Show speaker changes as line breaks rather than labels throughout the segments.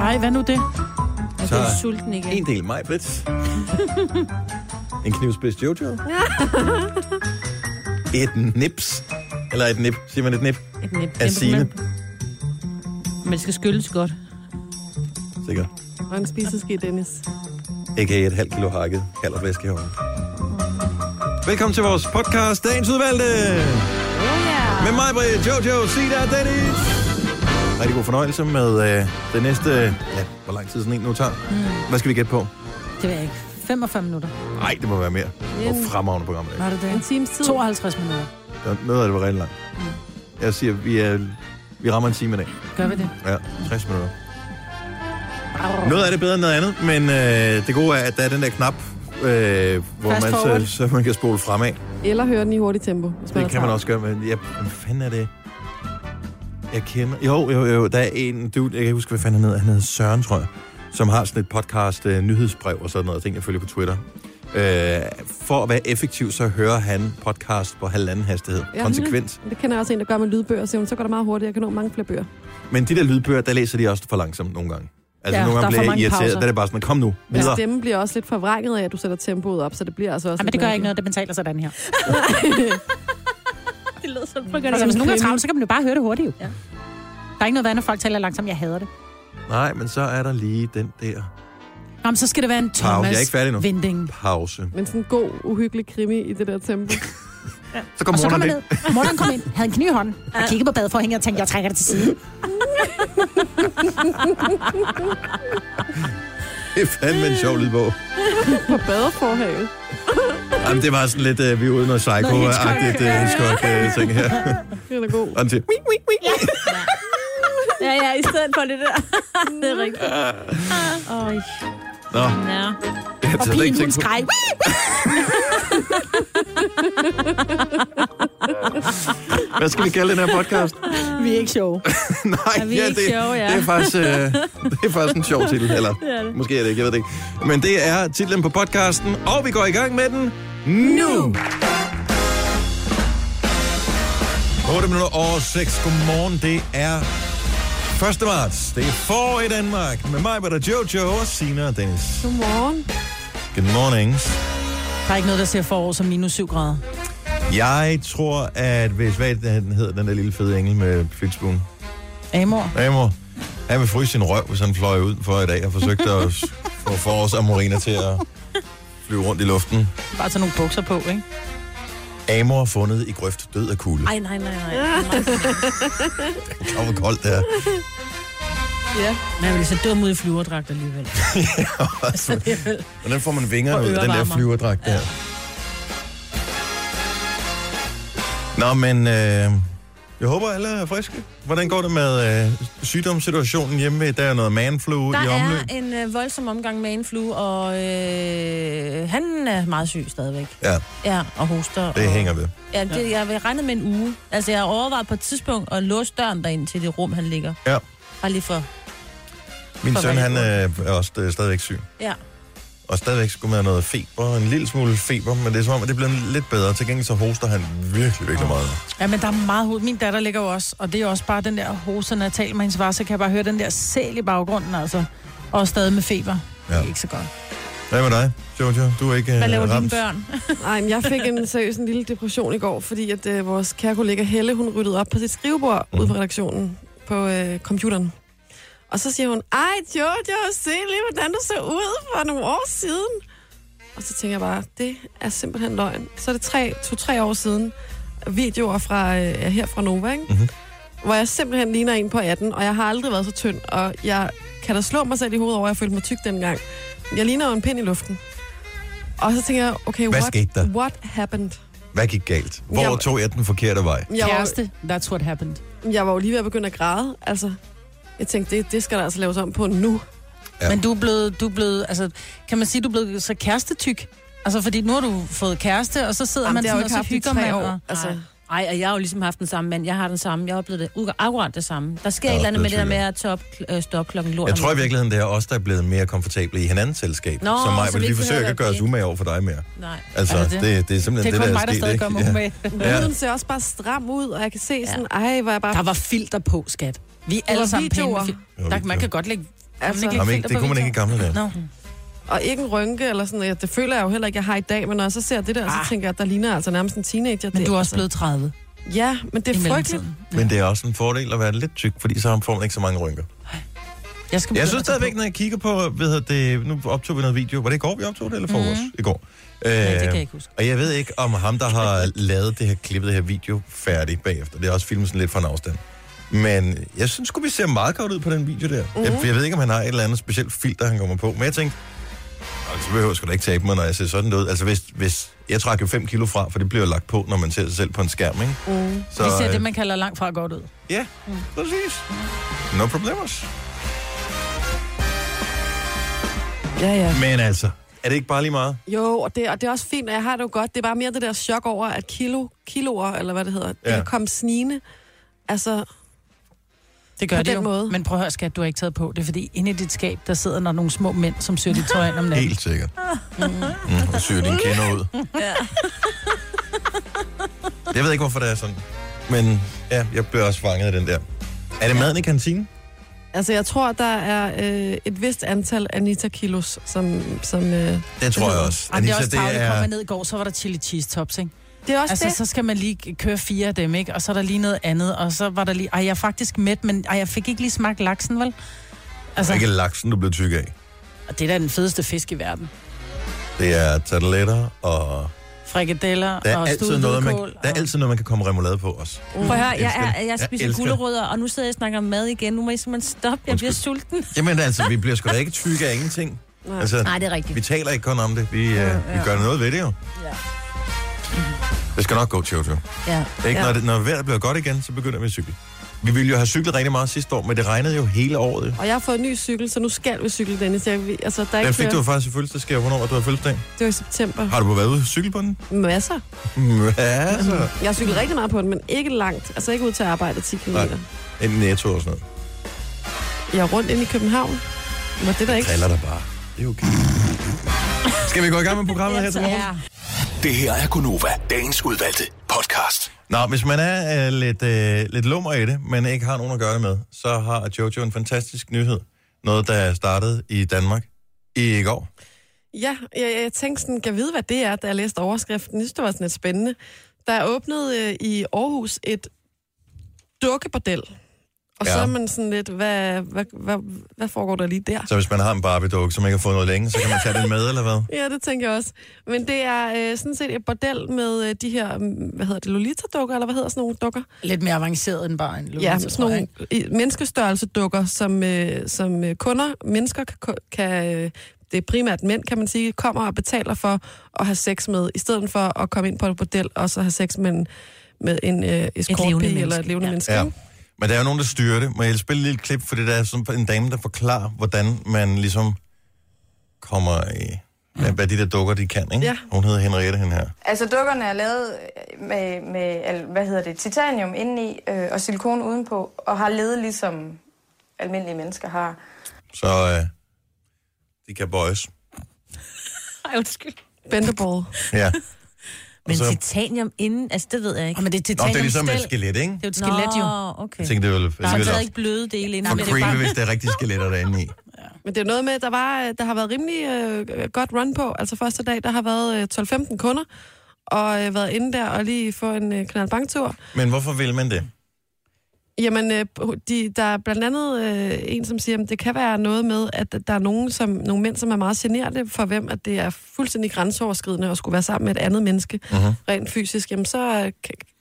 Ej, hvad nu det?
Jeg
Så-
er sulten igen.
En del mig, Brits. en knivspids Jojo. et nips. Eller et nip. Siger man et nip?
Et nip.
Af sine.
Men det skal skyldes godt.
Sikkert.
Og en spiseske, Dennis.
A.k.a. et halvt kilo hakket kalderflæsk i hånden. Velkommen til vores podcast, Dagens Udvalgte. Med mig, Britt, Jojo, Sida og Dennis. Rigtig god fornøjelse med øh, det næste... Ja, hvor lang tid sådan en nu tager. Mm. Hvad skal vi gætte på?
Det ved jeg ikke. 45 minutter.
Nej, det må være mere. Det var fremragende program i dag.
Var det
En
det?
times tid.
52 minutter.
Der- Noget af det var rigtig langt.
Mm.
Jeg siger, vi, er, vi rammer en time i dag.
Gør vi det?
Ja, 60 minutter. Noget af det er bedre end noget andet, men øh, det gode er, at der er den der knap, øh, hvor
Fast forward.
man så, så man kan spole fremad.
Eller høre den i hurtigt tempo.
Det
Hvis er
kan man
travlt.
også gøre, men jeg, hvad fanden er det? Jeg kender... Jo, jo, jo, der er en dude, jeg kan ikke huske, hvad fanden han hedder. Han hedder Søren, tror jeg, som har sådan et podcast, øh, nyhedsbrev og sådan noget, ting, jeg følger på Twitter. Øh, for at være effektiv, så hører han podcast på halvanden hastighed.
Ja.
Konsekvent.
Det kender jeg også en, der gør med lydbøger, så, så går det meget hurtigt. Jeg kan nå mange flere bøger.
Men de der lydbøger, der læser de også for langsomt nogle gange. Altså
Ja,
ja, nogle
der er
gange
for
bliver jeg
mange
irriteret,
pauser.
pauser. der er det bare sådan, kom nu,
Men
videre.
stemmen bliver også lidt forvrænget af, at du sætter tempoet op, så det bliver altså også
Ej, men
lidt
det gør ikke
mærkeligt.
noget, det man taler sådan her.
Det lød som på
Altså, hvis nogen er
har
travlt, så kan man jo bare høre det hurtigt. Jo. Ja. Der er ikke noget værd, når folk taler langsomt. Jeg hader det.
Nej, men så er der lige den der
Nå, men så skal det være en
Pause. Jeg er ikke
Thomas
færdig nu.
Vinding.
pause.
Men sådan en god, uhyggelig krimi i det der tempo.
Så kommer
Og så kom
morgenen
han
ind.
ned. Morten kom ind, havde en kniv i hånden, og kiggede på badeforhænget og tænkte, jeg trækker det til side.
Det er fandme en sjov lydbog.
På badeforhavet.
Jamen, det var sådan lidt, øh, vi er ude i noget psycho-agtigt øh, Hitchcock-ting her.
Den er god.
Og den siger, "Wii, wii, wii."
Ja, ja, i stedet for det der. det er rigtigt. Øj,
Nå,
ja.
jeg havde
Og
slet ikke
pigen, hun
tænkt på.
skreg.
Hvad skal vi kalde den her podcast?
Vi er ikke sjove.
Nej,
Er vi ikke
det,
sjove, ja?
det, er faktisk, øh, det er faktisk en sjov titel. Eller,
er det.
måske er det ikke, jeg ved det ikke. Men det er titlen på podcasten, og vi går i gang med den nu. 8 minutter over 6. Godmorgen, det er 1. marts. Det er forår i Danmark med mig, Britta, Jojo og Sina og Dennis.
Godmorgen.
Good mornings.
Der er ikke noget, der ser forår som minus 7 grader.
Jeg tror, at hvis hvad den hedder, den der lille fede engel med flitsbuen.
Amor.
Amor, han vil fryse sin røv, hvis han fløj ud for i dag og forsøgte at s- få forårsamoriner til at flyve rundt i luften.
Bare tage nogle bukser på, ikke?
Amor fundet i grøft død af kulde.
Ej, nej, nej, nej.
Åh, hvor koldt det er.
Ja.
Men jeg ville se dum ud i flyverdragt alligevel. Altså,
Altså,
Hvordan får man vinger
Og
ud af den der
ørevarmer.
flyverdragt der? Nå, men øh, jeg håber, alle er friske. Hvordan går det med øh, sygdomssituationen hjemme? Der er noget manflu i
Der
omløb.
er en øh, voldsom omgang med en flue, og øh, han er meget syg stadigvæk.
Ja,
Ja, og hoster.
det
og,
hænger ved.
Ja, det, jeg vil regne med en uge. Altså, jeg har overvejet på et tidspunkt at låse døren derind til det rum, han ligger.
Ja.
Bare lige for...
Min
For
søn,
hvad
han
er
øh, er også øh, stadigvæk syg.
Ja.
og stadigvæk skulle man have noget feber, en lille smule feber, men det er som om, at det er blevet lidt bedre. Til gengæld så hoster han virkelig, virkelig meget.
Ja, men der er meget hoved. Min datter ligger jo også, og det er også bare den der hose, når jeg taler med hendes var, så kan jeg bare høre den der sæl i baggrunden, altså. Og stadig med feber. Ja. Det er ikke så godt.
Hvad med dig, Jojo? Du er ikke
Hvad
øh,
laver dine
ramt.
børn?
Ej, men jeg fik en seriøs en lille depression i går, fordi at øh, vores kære kollega Helle, hun ryddede op på sit skrivebord
Mhm.
mm. ude på redaktionen på øh, computeren. Og så siger hun, ej Jojo, se lige, hvordan du så ud for nogle år siden. Og så tænker jeg bare, det er simpelthen løgn. Så er det tre, to-tre år siden, videoer fra, øh, her fra Nova, ikke?
Mhm.
Mm-hmm. hvor jeg simpelthen ligner en på 18, og jeg har aldrig været så tynd, og jeg kan da slå mig selv i hovedet over, at jeg følte mig tyk dengang. Jeg ligner jo en pind i luften. Og så tænker jeg, okay,
Hvad
what,
skete der?
what happened?
Hvad gik galt? Hvor
Jamen-
tog jeg den forkerte vej?
Jeg var,
that's what happened.
jeg var jo lige ved at begynde at græde, altså. Jeg tænkte, det, det skal der altså laves om på nu.
Ja.
Ja. Men du er blevet, du er blevet, altså, kan man sige, du er blevet så kærestetyk? Altså, fordi nu har du fået kæreste, og så sidder
Jamen,
man
det har jeg
sådan,
jo
og
ikke
så
haft i
hygger
tre
man.
år.
Og...
Altså.
Nej. Ej, og jeg har jo ligesom haft den samme mand. Jeg har den samme. Jeg har oplevet det ud- akkurat det samme. Der sker
Jeg
et
er
eller andet med
også
det der med
blevet
at top, øh, stå op klokken lort.
Jeg
om
tror i
natten.
virkeligheden, det er os, der er blevet mere komfortable i hinandens selskab.
Nå,
som mig,
så
men
vi
vi
ikke
forsøger
behøver
ikke at gøre os
det.
umage over for dig mere.
Nej.
Altså,
Er
det,
det
det,
det?
det er simpelthen
Det er
det,
kun
der
mig, der
er sket.
stadig gør mig
ikke?
umage.
Ja.
Huden ser også bare stram ud, og jeg kan se sådan, ej, hvor jeg bare...
Der var filter på, skat. Vi er
var
alle sammen pæne med
videoer.
fil-
var
der, man
videoer.
kan godt lægge Altså,
Altså,
ikke
Jamen,
filter
ikke, det
på
kunne man ikke i
Victor?
gamle dage.
Nå,
og ikke en rynke eller sådan noget. Det føler jeg jo heller ikke, jeg har i dag, men når jeg så ser det der,
Ah.
så tænker jeg, at der ligner altså nærmest en teenager.
men
det,
du er også blevet 30
blevet... Ja, men det
i
er frygteligt.
mellemtiden.
Men det er også en fordel at være lidt tyk, fordi så får man ikke så mange rynker.
Jeg, skal
Jeg
begynde
synes
at tage
stadigvæk, når jeg kigger på, ved at det, nu optog vi noget video. Var det i går, vi optog det, eller forårs? Mm. I går. Øh,
på. Nej, Mhm. det kan jeg ikke huske.
Og jeg ved ikke, om ham, der har lavet det her klippet, det her video, færdig bagefter. Det er også filmet sådan lidt fra en afstand. Men jeg synes sgu, vi ser meget godt ud på den video der. Mm. Jeg,
Mhm.
jeg, ved ikke, om han har et eller andet specielt filter, han kommer på. Men jeg tænkte, "Nå, så behøver jeg sgu da ikke tabe mig, når jeg ser sådan ud. Altså, hvis, hvis jeg trækker jo 5 kilo fra, for det bliver jo lagt på, når man ser sig selv på en skærm, ikke?
Mm.
Så,
Vi ser
øh,
det, man kalder langt fra godt ud.
Ja, præcis. No problemos.
Ja, ja.
Men altså, er det ikke bare lige meget?
Jo, og det, og det er også fint, og jeg har det jo godt. Det er bare mere det der chok over, at kilo, kiloer, eller hvad det hedder, ja.
Ja.
det kan komme snigende. Altså,
Det gør
På
det
den
jo.
måde.
Men prøv at høre, skat, du har ikke taget på. Det er fordi, inde i dit skab, der sidder der nogle små mænd, som søger dit tøj ind om natten.
Helt sikkert. Mm. Mm, og syr din kender ud.
Ja.
Jeg ved ikke, hvorfor det er sådan. Men ja, jeg blev også fanget af den der. Er det maden i kantinen?
altså jeg tror, der er øh, et vist antal Anita Kilos, som... som øh,
Det tror jeg også.
Ej, men det er også tavligt, det kom jeg ned i går, så var der chili cheese tops, ikke?
det er også altså,
Altså,
det.
så skal man lige køre fire af dem, ikke? Og så er der lige noget andet, og så var der lige... Ej, jeg er faktisk mæt, men ej, jeg fik ikke lige smagt laksen, vel? Altså,
Det er ikke laksen, du blev tyk af.
og det er da den fedeste fisk i verden.
Det er tarteletter, og
Frikadeller
der er,
og
altid
stuvet
noget, man,
hvedkål.
der er
og-
altid noget, man kan komme remoulade på også.
Prøv at høre, jeg,
elsker
er,
det.
jeg
Jeg
spiser
elsker det.
gulerødder, og nu sidder jeg og snakker om mad igen. Nu må I simpelthen stoppe, jeg bliver sulten.
Jamen altså, vi bliver sgu da ikke tykke af ingenting.
Nej.
Altså,
Nej, det er rigtigt.
vi taler ikke kun om det. Vi, øh, vi gør noget ved det jo.
Ja.
Det skal nok gå, Jojo.
Ja.
Ikke?
Ja.
Når, det, når vejret bliver godt igen, så begynder vi at cykle. Vi ville jo have cyklet rigtig meget sidste år, men det regnede jo hele året. jo.
Og jeg har fået en ny cykel, så nu skal vi cykle, Dennis. Jeg, vil- altså, der er
Den
ikke
fik
flere-
du faktisk i fødselsdagsgave. Hvornår var du i fødselsdag?
Det var i september.
Har du på været ude og cykle på den? Mm,
Masser. Øhm,
Ja, så.
Mm,
Jeg har cyklet rigtig meget på den, men ikke langt. Altså ikke ud til at arbejde 10 km.
Nej. En netto og sådan noget.
Jeg er rundt ind i København. Var det der ikke?
Driller dig bare. Det er okay. Skal vi gå i gang med programmet her til morgen?
ja.
Det her er Gunova, dagens udvalgte podcast.
Nå, hvis man er øh, lidt, øh, lidt lummer i det, men ikke har nogen at gøre det med, så har Jojo en fantastisk nyhed. Noget, der startede i Danmark i går.
Ja, jeg, jeg tænkte sådan, kan jeg vide, hvad det er, da jeg læste overskriften. Jeg synes, det var sådan lidt spændende. Der er åbnet øh, i Aarhus et dukkebordel. Og ja. så
Ja.
er man sådan lidt, hvad, hvad, hvad, hvad foregår der lige der?
Så hvis man har en Barbie-dukke, som ikke har fået noget længe, så kan man tage den med, eller hvad?
Ja, det tænker jeg også. Men det er øh, sådan set et bordel med øh, de her, mm, hvad hedder det, Lolita-dukker, eller hvad hedder sådan nogle dukker?
Lidt mere avanceret end bare en lune,
Ja, sådan nogle i- menneskestørrelse-dukker, som, øh, som øh, kunder, mennesker kan, kan øh, det er primært mænd, kan man sige, kommer og betaler for at have sex med, i stedet for at komme ind på et bordel og så have sex med en, med en øh,
levende
escortpige eller
menneske,
et levende
ja.
ja. menneske.
Ja.
ikke?
Men der er jo nogen, der styrer det. Må jeg spille et lille klip, fordi der er sådan en dame, der forklarer, hvordan man ligesom kommer i... Hvad, hvad de der dukker, de kan, ikke?
Ja.
Hun hedder Henriette, hende her.
Altså dukkerne er lavet øh, med, med al- hvad hedder det, titanium indeni øh, og silikon udenpå, og har ledet ligesom almindelige mennesker har.
Så øh, de kan bøjes.
Ej, undskyld.
Bendable.
Ja.
Men
så-
titanium inden, altså det ved jeg ikke.
Og men det er
Nå, det er
titanium
ligesom
stel.
et skelet, ikke?
Det er jo et skelet, jo.
Nå, okay.
Jeg tænkte, det var lidt
Der er
for
stadig ikke bløde dele inden. men det er
creepy,
bare-
hvis det er rigtige skeletter derinde i.
Men det er noget med, der var, øh, der har været rimelig øh, godt run på. Altså første dag, der har været øh, 12-15 kunder, og øh, været inde der og lige få en øh, knaldbanktur.
Men hvorfor vil man det?
Jamen, øh, de, der er blandt andet øh, en, som siger, at det kan være noget med, at der er nogen, som, nogle mænd, som er meget generede, for hvem at det er fuldstændig grænseoverskridende at skulle være sammen med et andet menneske
Mhm.
rent fysisk. Jamen, så øh, kan,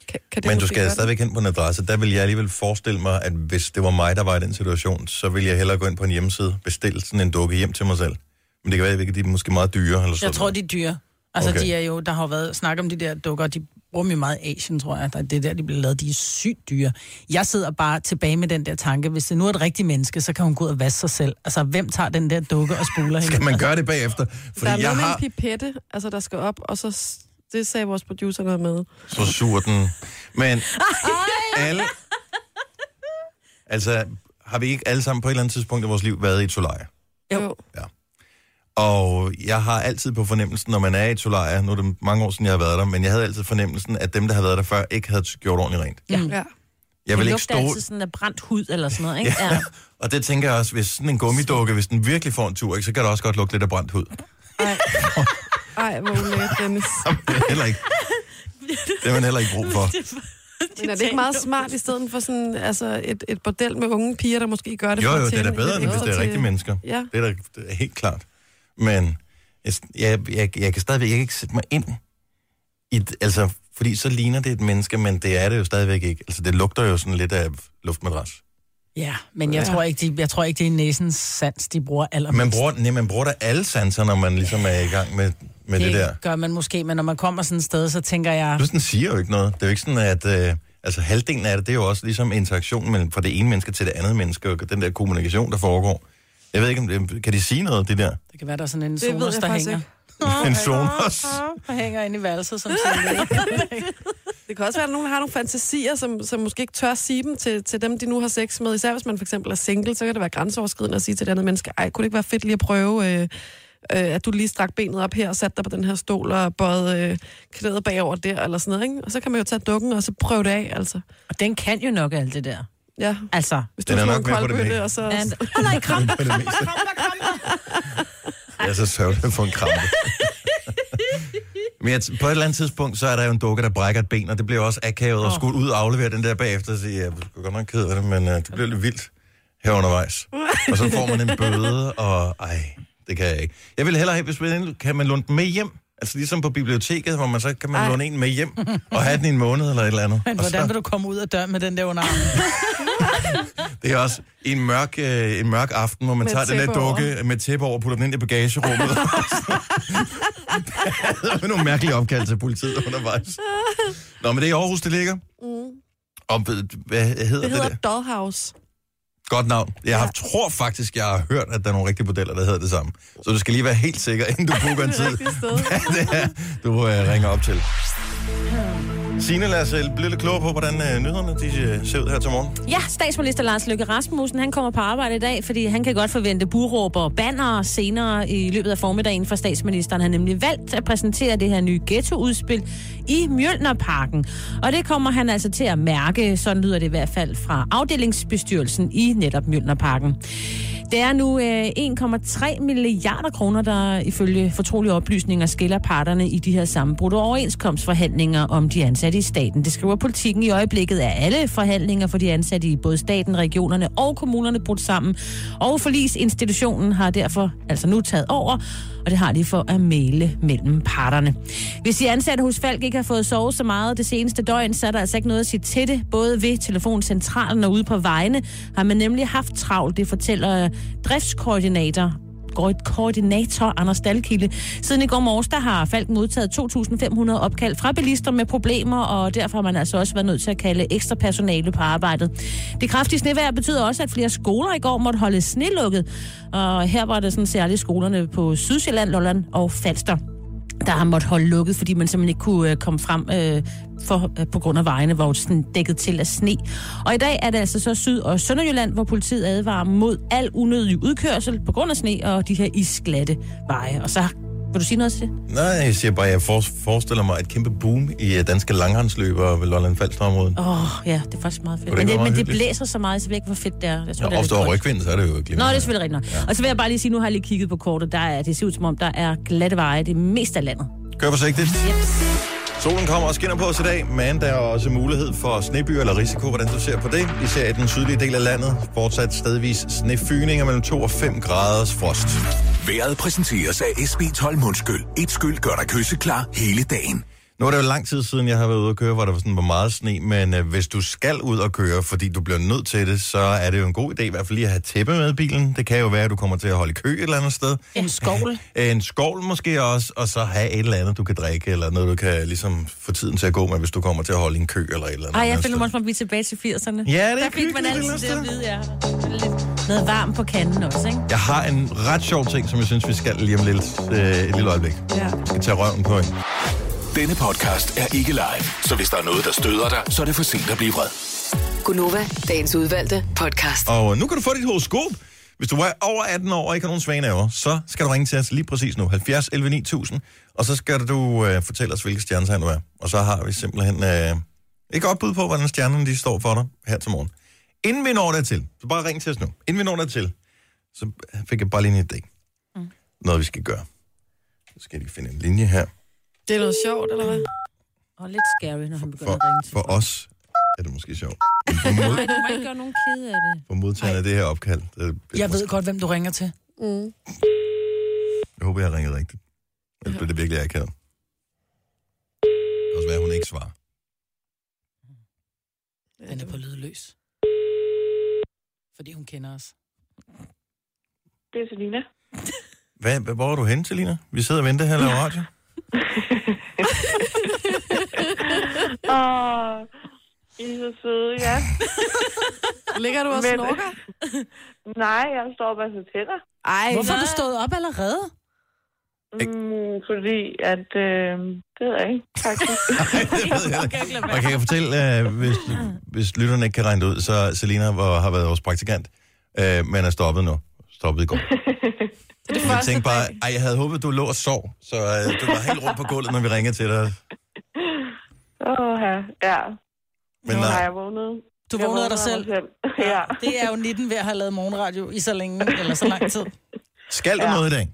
kan, kan det
Men du
måske
skal
godt-
stadigvæk hen på en adresse. Der vil jeg alligevel forestille mig, at hvis det var mig, der var i den situation, så ville jeg hellere gå ind på en hjemmeside, bestille sådan en dukke hjem til mig selv. Men det kan være, at de er måske meget dyre. Eller sådan
Jeg tror, de er dyre. Altså,
Okay.
okay. de er jo, der har jo været snak om de der dukker, de bruger dem jo meget i Asien, tror jeg. Der- Det er der, de bliver lavet. De er sygt dyre. Jeg sidder bare tilbage med den der tanke, hvis det nu er et rigtigt menneske, så kan hun gå ud og vaske sig selv. Altså, hvem tager den der dukke og spoler hende?
Kan man gøre det bagefter?
Der er
Fordi jeg
noget med
har...
en pipette, altså, der skal op, og så... s- Det sagde vores producer noget med.
Så sur den. Men alle... Altså, har vi ikke alle sammen på et eller andet tidspunkt i vores liv været i et solarie?
Jo. jo.
Og jeg har altid på fornemmelsen, når man er i et solarie, nu er det mange år siden, jeg har været der, men jeg havde altid fornemmelsen, at dem, der havde været der før, ikke havde gjort ordentligt rent.
Ja.
Jeg vil
det
ikke
lugter
stole-
altid sådan af brændt hud eller sådan noget, ikke? Ja.
Og det tænker jeg også, hvis sådan en gummidukke, hvis den virkelig får en tur, ikke, så kan det også godt lugte lidt af brændt hud.
Ej, Ej hvor ulækkert, Dennis.
Det er heller ikke, det har man heller ikke brug for.
Men er det ikke meget smart i stedet for sådan altså et, et bordel med unge piger, der måske gør det
Jo,
for
jo,
at
det er da
tjene lidt
bedre, end hvis
ekstra
det er
til-
rigtige mennesker.
Ja.
Det er da det er helt klart. Men jeg, jeg, jeg, jeg kan stadigvæk jeg kan ikke sætte mig ind i... d- Altså, fordi så ligner det et menneske, men det er det jo stadigvæk ikke. Altså, det lugter jo sådan lidt af luftmadras.
Ja, men jeg, ja. Tror ikke, de, jeg tror ikke, det er næsens sans, de bruger allermest.
Man bruger, nej, man bruger da alle sanser, når man ligesom er i gang med, med det, det der.
gør man måske, men når man kommer sådan et sted, så tænker jeg...
Plus, den siger jo ikke noget. Det er jo ikke sådan, at... Øh, altså, halvdelen af det, det er jo også ligesom interaktion mellem, fra det ene menneske til det andet menneske, og den der kommunikation, der foregår. Jeg ved ikke, om det, kan de sige noget, det der?
Det kan være, der er sådan en
Det ved
Sonos,
jeg
der
faktisk
hænger.
En Sonos.
Der hænger inde i værelset, som sådan
Det kan også være, at nogen har nogle fantasier, som, som måske ikke tør sige dem til, til dem, de nu har sex med. Især hvis man for eksempel er single, så kan det være grænseoverskridende at sige til et andet menneske, ej, kunne det ikke være fedt lige at prøve, øh, øh, at du lige strak benet op her og satte dig på den her stol og bøjede øh, knæet bagover der, eller sådan noget, ikke? Og så kan man jo tage dukken og så prøve det af, altså.
Og den kan jo nok alt det der.
Ja,
Altså,
hvis
Den er
slår
nok
en
med på det
koldbøtte,
meste.
og så...
and,
For det meste. Jeg er så sørgelig for en krampe. Men jeg t- på et eller andet tidspunkt, så er der jo en dukke, der brækker et ben, og det bliver også akavet og skudt ud og aflevere den der bagefter og sige, jeg er godt nok ked af det, men uh, det bliver lidt vildt her undervejs. Og så får man en bøde, og ej, det kan jeg ikke. Jeg vil hellere have, hvis man kan man låne den med hjem. Altså ligesom på biblioteket, hvor man så kan man
Ej.
låne en med hjem og have den i en måned eller et eller andet.
Men
Og så-
hvordan vil du komme ud af døren med den der under armen?
Det er også en mørk, øh, en mørk aften, hvor man
Med
tager den der
tæppe over.
dukke med tæppe over og putter den ind i bagagerummet. med nogle mærkelige opkald til politiet undervejs. Nå, men det er i Aarhus, det ligger.
Mm.
Og ved- hvad hedder
Det
det,
hedder
der?
Dollhouse.
Godt navn. Jeg har, tror faktisk, jeg har hørt, at der er nogle rigtige modeller, der hedder det samme. Så du skal lige være helt sikker, inden du booker en
Det er
tid.
rigtigt sted.
det er, du øh, ringer op til. Signe, lad os øh, blive lidt klogere på, hvordan øh, nyhederne de, øh, ser ud her til morgen.
Ja, statsminister Lars Løkke Rasmussen, han kommer på arbejde i dag, fordi han kan godt forvente buråb og banner senere i løbet af formiddagen fra statsministeren. Han har nemlig valgt at præsentere det her nye ghettoudspil i Mjølnerparken. Og det kommer han altså til at mærke, sådan lyder det i hvert fald fra afdelingsbestyrelsen i netop Mjølnerparken. Det er nu øh, 1,3 milliarder kroner, der ifølge fortrolige oplysninger skiller parterne i de her sammenbrudte overenskomstforhandlinger om de ansatte i staten. Det skriver politikken i øjeblikket er alle forhandlinger for de ansatte i både staten, regionerne og kommunerne brudt sammen. Og forlisinstitutionen har derfor altså nu taget over, og det har de for at male mellem parterne. Hvis de ansatte hos Falk ikke har fået sovet så meget det seneste døgn, så er der altså ikke noget at sige til det. Både ved telefoncentralen og ude på vejene har man nemlig haft travlt, det fortæller øh, driftskoordinator koordinator Anders Dalkilde. Siden i går morges, der har Falk modtaget 2.500 opkald fra bilister med problemer, og derfor har man altså også været nødt til at kalde ekstra personale på arbejdet. Det kraftige snevejr betyder også, at flere skoler i går måtte holde snelukket, og her var det sådan særligt skolerne på Sydsjælland, Lolland og Falster der har måttet holde lukket, fordi man simpelthen ikke kunne øh, komme frem øh, for, øh, på grund af vejene, hvor det sådan dækket til af sne. Og i dag er det altså så Syd- og Sønderjylland, hvor politiet advarer mod al unødig udkørsel på grund af sne og de her isglatte veje. Og så vil du sige noget til det?
Nej, jeg siger bare, jeg for, forestiller mig et kæmpe boom i øh, danske langrensløbere ved Lolland Falster området.
Åh, oh, ja, det er faktisk meget fedt.
Kunne det ikke
Men det,
være
men
meget
det
hyggeligt?
blæser så meget, så jeg ved ikke, hvor fedt det er. Jeg tror, det
Ja,
er
ofte
lidt
over
koldt.
rygvind, så er det jo glimrende.
Nå, det er selvfølgelig rigtigt nok. Ja. Og så vil jeg bare lige sige, nu har jeg lige kigget på kortet. Der er, det ser ud som om, der er glatte veje det meste af landet.
Kør forsigtigt. Solen kommer og skinner på os i dag, men der er også mulighed for snebyer eller risiko, hvordan du ser på det. Især i den sydlige del af landet. Fortsat stedvis snefyninger mellem 2 og 5 graders frost.
Været præsenteres af SB12 Mundskyl. Et skyld gør dig kysseklar hele dagen.
Nu er det jo lang tid siden, jeg har været ude at køre, hvor der var sådan var meget sne, men øh, hvis du skal ud og køre, fordi du bliver nødt til det, så er det jo en god idé i hvert fald lige at have tæppe med i bilen. Det kan jo være, at du kommer til at holde i kø et eller andet sted.
en skovl.
En skovl måske også, og så have et eller andet, du kan drikke, eller noget, du kan ligesom få tiden til at gå med, hvis du kommer til at holde i en kø eller et eller andet. Altså,
Ej, jeg
andet
finder
sted.
mig også, at vi er tilbage til 80'erne.
Ja, det er
Der fik man
hyggeligt,
altid
det
det
er
at vide, ja. Lidt noget varmt på kanden også, ikke?
Jeg har en ret sjov ting, som jeg synes, vi skal lige om lidt, øh, et lille øjeblik.
Ja.
Vi skal tage røven på en.
Denne podcast er ikke live, så hvis der er noget, der støder dig, så er det for sent at blive vred.
Gunova, dagens udvalgte podcast.
Og øh, nu kan du få dit horoskop. Hvis du er over 18 år og ikke har nogen svane over, så skal du ringe til os lige præcis nu. 70 11 9000. Og så skal du øh, fortælle os, hvilke stjernetegn du er. Og så har vi simpelthen øh, Et godt bud på, hvordan stjernerne de står for dig her til morgen. Inden vi når dertil, så bare ring til os nu. Inden vi når dertil, så fik jeg bare lige en idé. Mm. Noget, vi skal gøre. Så skal jeg lige finde en linje her.
Det er noget sjovt, eller
Mm.
hvad?
Og lidt scary, når han begynder
For,
at ringe til.
for os er det måske sjovt. Men For,
Nej,
mod,
du må ikke gøre nogen kede af det.
for modtagerne af det her opkald. Det, det
Jeg ved godt, hvem du ringer til.
Mm.
Jeg håber, jeg har ringet rigtigt. Ellers bliver det virkelig akavet. Det kan også være, at hun ikke svarer.
Den er på lydløs. Fordi hun kender os.
Det er Selina.
Hvad, hvad- hvor er du henne, Selina? Vi sidder og venter her og laver radio.
Og I er så søde, ja.
Ligger du og
Men-
snorker?
Nej, jeg står bare så tænder.
Ej,
Hvorfor er du stået op allerede?
Mm, fordi at, øh, det ved jeg ikke, faktisk.
Og kan jeg fortælle, øh, hvis, hvis lytterne ikke kan regne det ud, så Selina var, har været vores praktikant, øh, men er stoppet nu. Stoppet i går.
det er
Jeg
det første
tænkte bare,
dag.
ej, jeg havde håbet, du lå og sov, så øh, du var helt rundt på gulvet, når vi ringede til dig.
Åh, ja. ja.
Men
Nu har
nej,
jeg vågnet.
Du
Jeg
vågnede af dig selv.
mig selv. ja.
Det er jo 19 ved at have lavet morgenradio i så længe, eller så lang tid.
skal du
Ja.
noget i dag?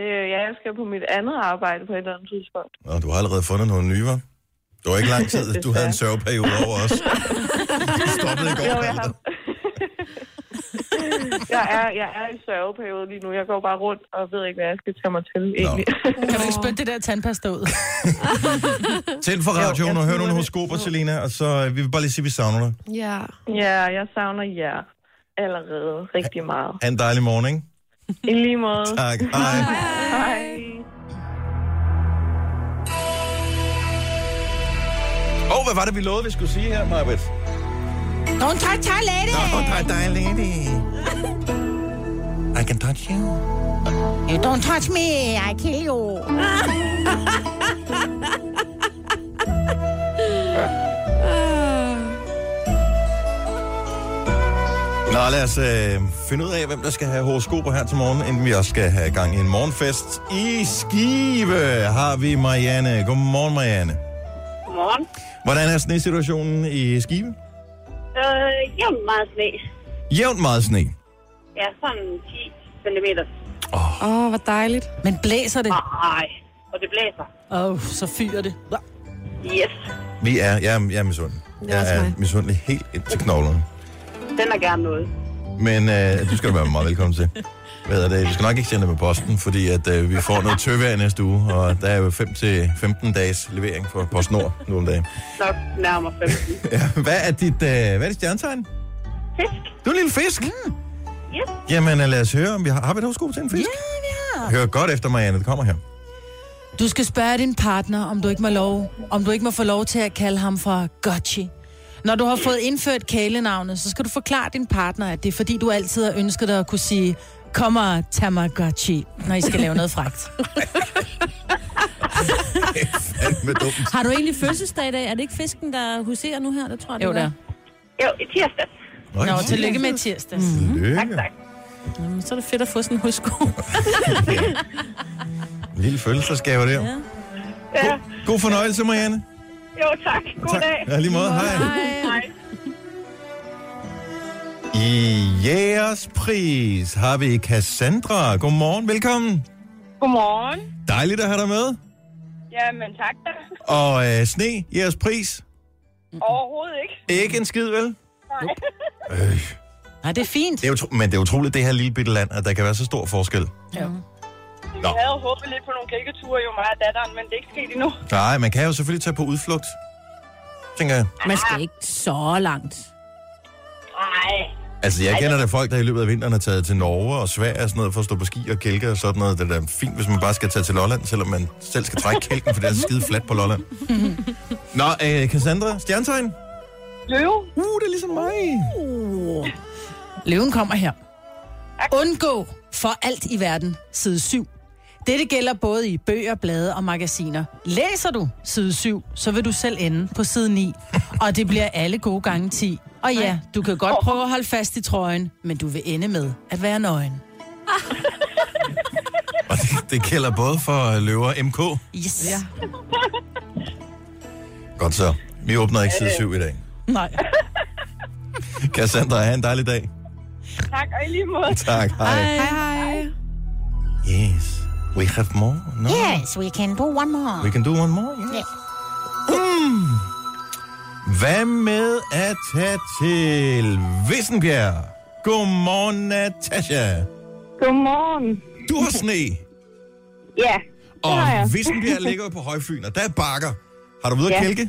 Øh, ja, jeg skal på mit andet arbejde på et eller andet tidspunkt.
Nå, du har allerede fundet nogle nye, var? Det var ikke lang tid, du havde en sørgeperiode over os. Du stoppede i går.
Jo, jeg har...
Peter.
jeg, er, jeg er i sørgeperiode lige nu. Jeg går bare rundt og ved ikke, hvad jeg skal tage mig til egentlig.
Kan du ikke spytte det der tandpasta ud?
Tænd for radioen og hør nogle horoskoper, Selina, og så øh, vi vil bare lige sige, at vi savner dig.
Ja.
ja, jeg savner jer allerede rigtig meget.
Ha' en dejlig morgen, ikke?
I lige måde.
Tak. Hej.
Hej.
Åh, oh, hvad var det, vi lovede, vi skulle sige her, Marbet?
Don't touch her lady!
Åh, oh, dig, lady. I can touch you.
You don't touch me, I kill you.
Nå, lad os øh, finde ud af, hvem der skal have horoskoper her til morgen, inden vi også skal have gang i en morgenfest. I Skive har vi Marianne. Godmorgen, Marianne.
Godmorgen.
Hvordan er snesituationen i Skive?
Øh, jamen, meget sne.
Jævnt meget sne.
Ja, sådan 10 cm.
Åh, oh, hvor dejligt.
Men blæser det?
Nej, og det blæser.
Åh, oh, så fyrer det.
Yes,
Vi er, jeg, er- jeg er misundelig.
er også
Jeg er
mig.
misundelig helt ind til knoglerne.
den er gerne noget.
Men øh, du skal du være meget velkommen til. Hvad hedder det? Du skal nok ikke sende det med posten, fordi at, øh, vi får noget tøvær i næste uge, og der er jo 5-15 dages levering for PostNord nu om dagen.
Nok nærmere 15.
Ja, hvad er dit, øh, hvad er dit stjernetegn?
Fisk,
Du er en lille fisk. Mm.
yes.
Jamen øh, lad os høre, om vi har, har vi et horoskop til en fisk? Ja, ja. Hør godt efter, Marianne, det kommer her.
Du skal spørge din partner, om du ikke må, lov, om du ikke må få lov til at kalde ham for Gotchi. Når du har fået indført kælenavnet, så skal du forklare din partner, at det er fordi, du altid har ønsket dig at kunne sige, kom og tag mig Gotchi, når I skal lave noget fragt.
Med dumt.
Har du egentlig fødselsdag i dag? Er det ikke fisken, der huserer nu her? Det tror jeg,
Jo, det er.
Jo, i tirsdags.
Nå, tillykke med tirsdags.
Tillykke.
tak.
Mm, så er det fedt at få sådan en husko.
Øh, En lille følelsesgave der. Ja.
Ja,
God fornøjelse, Marianne.
jo, tak. God
Tak.
dag.
Ja, lige måde. Hej. I Jægerspris har vi Cassandra. Godmorgen, velkommen.
Godmorgen.
Dejligt at have dig med.
Jamen, tak da.
Og øh, sne, jeres pris.
Overhovedet ikke.
Ikke en skid, vel?
Nej, det er fint.
Det er utro- men det er utroligt, det her lille bitte land, at der kan være så stor forskel.
Ja.
Vi
Nå.
havde håbet lidt på nogle kælketure, jo mig og datteren, men det er ikke sket endnu.
Nej, man kan jo selvfølgelig tage på udflugt. Tænker jeg.
Man skal ikke så langt.
Nej,
Altså, jeg kender da folk, der i løbet af vinteren har taget til Norge og Sverige og sådan noget for at stå på ski og kælke og sådan noget. Det er da fint, hvis man bare skal tage til Lolland, selvom man selv skal trække kælken, for det er så skide fladt på Lolland. Nå, øh, Cassandra, stjernetegn?
Løve?
Uh, det er ligesom mig.
Uh. Løven kommer her. Undgå for alt i verden side 7. Dette gælder både i bøger, blade og magasiner. Læser du side 7, så vil du selv ende på side 9. Og det bliver alle gode gange 10. Og ja, du kan godt prøve at holde fast i trøjen, men du vil ende med at være nøgen.
Og det, det gælder både for øh, løver og MK.
Yes. Ja.
Godt så. Vi åbner ikke side 7 i dag.
Nej.
Cassandra, have en dejlig dag.
Tak, og i lige måde.
Tak, hej.
Hej, hej.
Yes. We have more? No?
Yes, we can do one more.
We can do one more? Yes. Mm. Hmm. Hvad med at tage til Vissenbjerg? Godmorgen, Natasha.
Godmorgen.
Du har sne,
Ja,
og
har jeg.
Vissenbjerg ligger jo på Højfyn, og der er bakker. Har du været ja.
Ja.
kælke?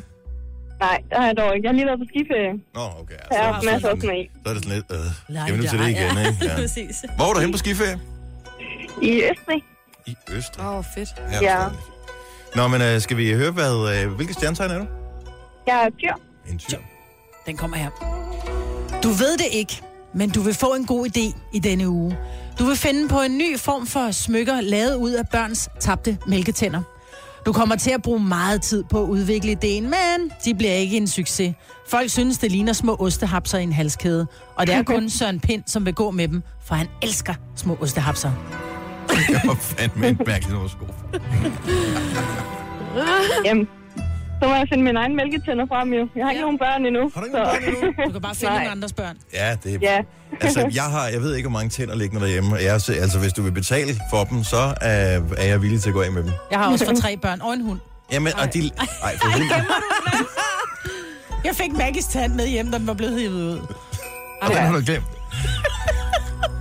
nej, det har jeg dog ikke. Jeg har lige været på skiferie.
Nå, okay. Altså,
Ja,
så er det
masser
sådan-
af sne.
Så er det sådan lidt, øh, skal vi nu til det igen, ikke? Ja.
Præcis.
Hvor var du henne på skiferie?
I Østrig.
I Østrig.
Åh, oh, fedt.
Ja.
Ja.
forståeligt. Nå, men øh, skal vi høre, hvad, øh, hvilke stjernetegn er du?
Jeg er dyr.
En tyr.
Den kommer her. Du ved det ikke, men du vil få en god idé i denne uge. Du vil finde på en ny form for smykker, lavet ud af børns tabte mælketænder. Du kommer til at bruge meget tid på at udvikle ideen, men de bliver ikke en succes. Folk synes, det ligner små ostehapser i en halskæde. Og det er kun Søren Pind, som vil gå med dem, for han elsker små ostehapser.
Jeg var fandme en mærkelig horoskop.
Jamen, så må jeg finde mine egne mælketænder frem, jo. Jeg har ikke
Ja.
nogen børn endnu.
Har du ikke nogen børn endnu?
Du kan bare finde
Nej.
nogle andres børn.
Ja, det er...
Ja.
altså, jeg har, jeg ved ikke, hvor mange tænder liggende derhjemme. Jeg, er så- altså, hvis du vil betale for dem, så øh, er jeg villig til at gå af med dem.
Jeg har også fået tre børn og en hund.
Jamen, og de... Ej, for helvede.
Jeg fik Maggies tand med hjem, da den var blevet hivet ud.
Den har du glemt.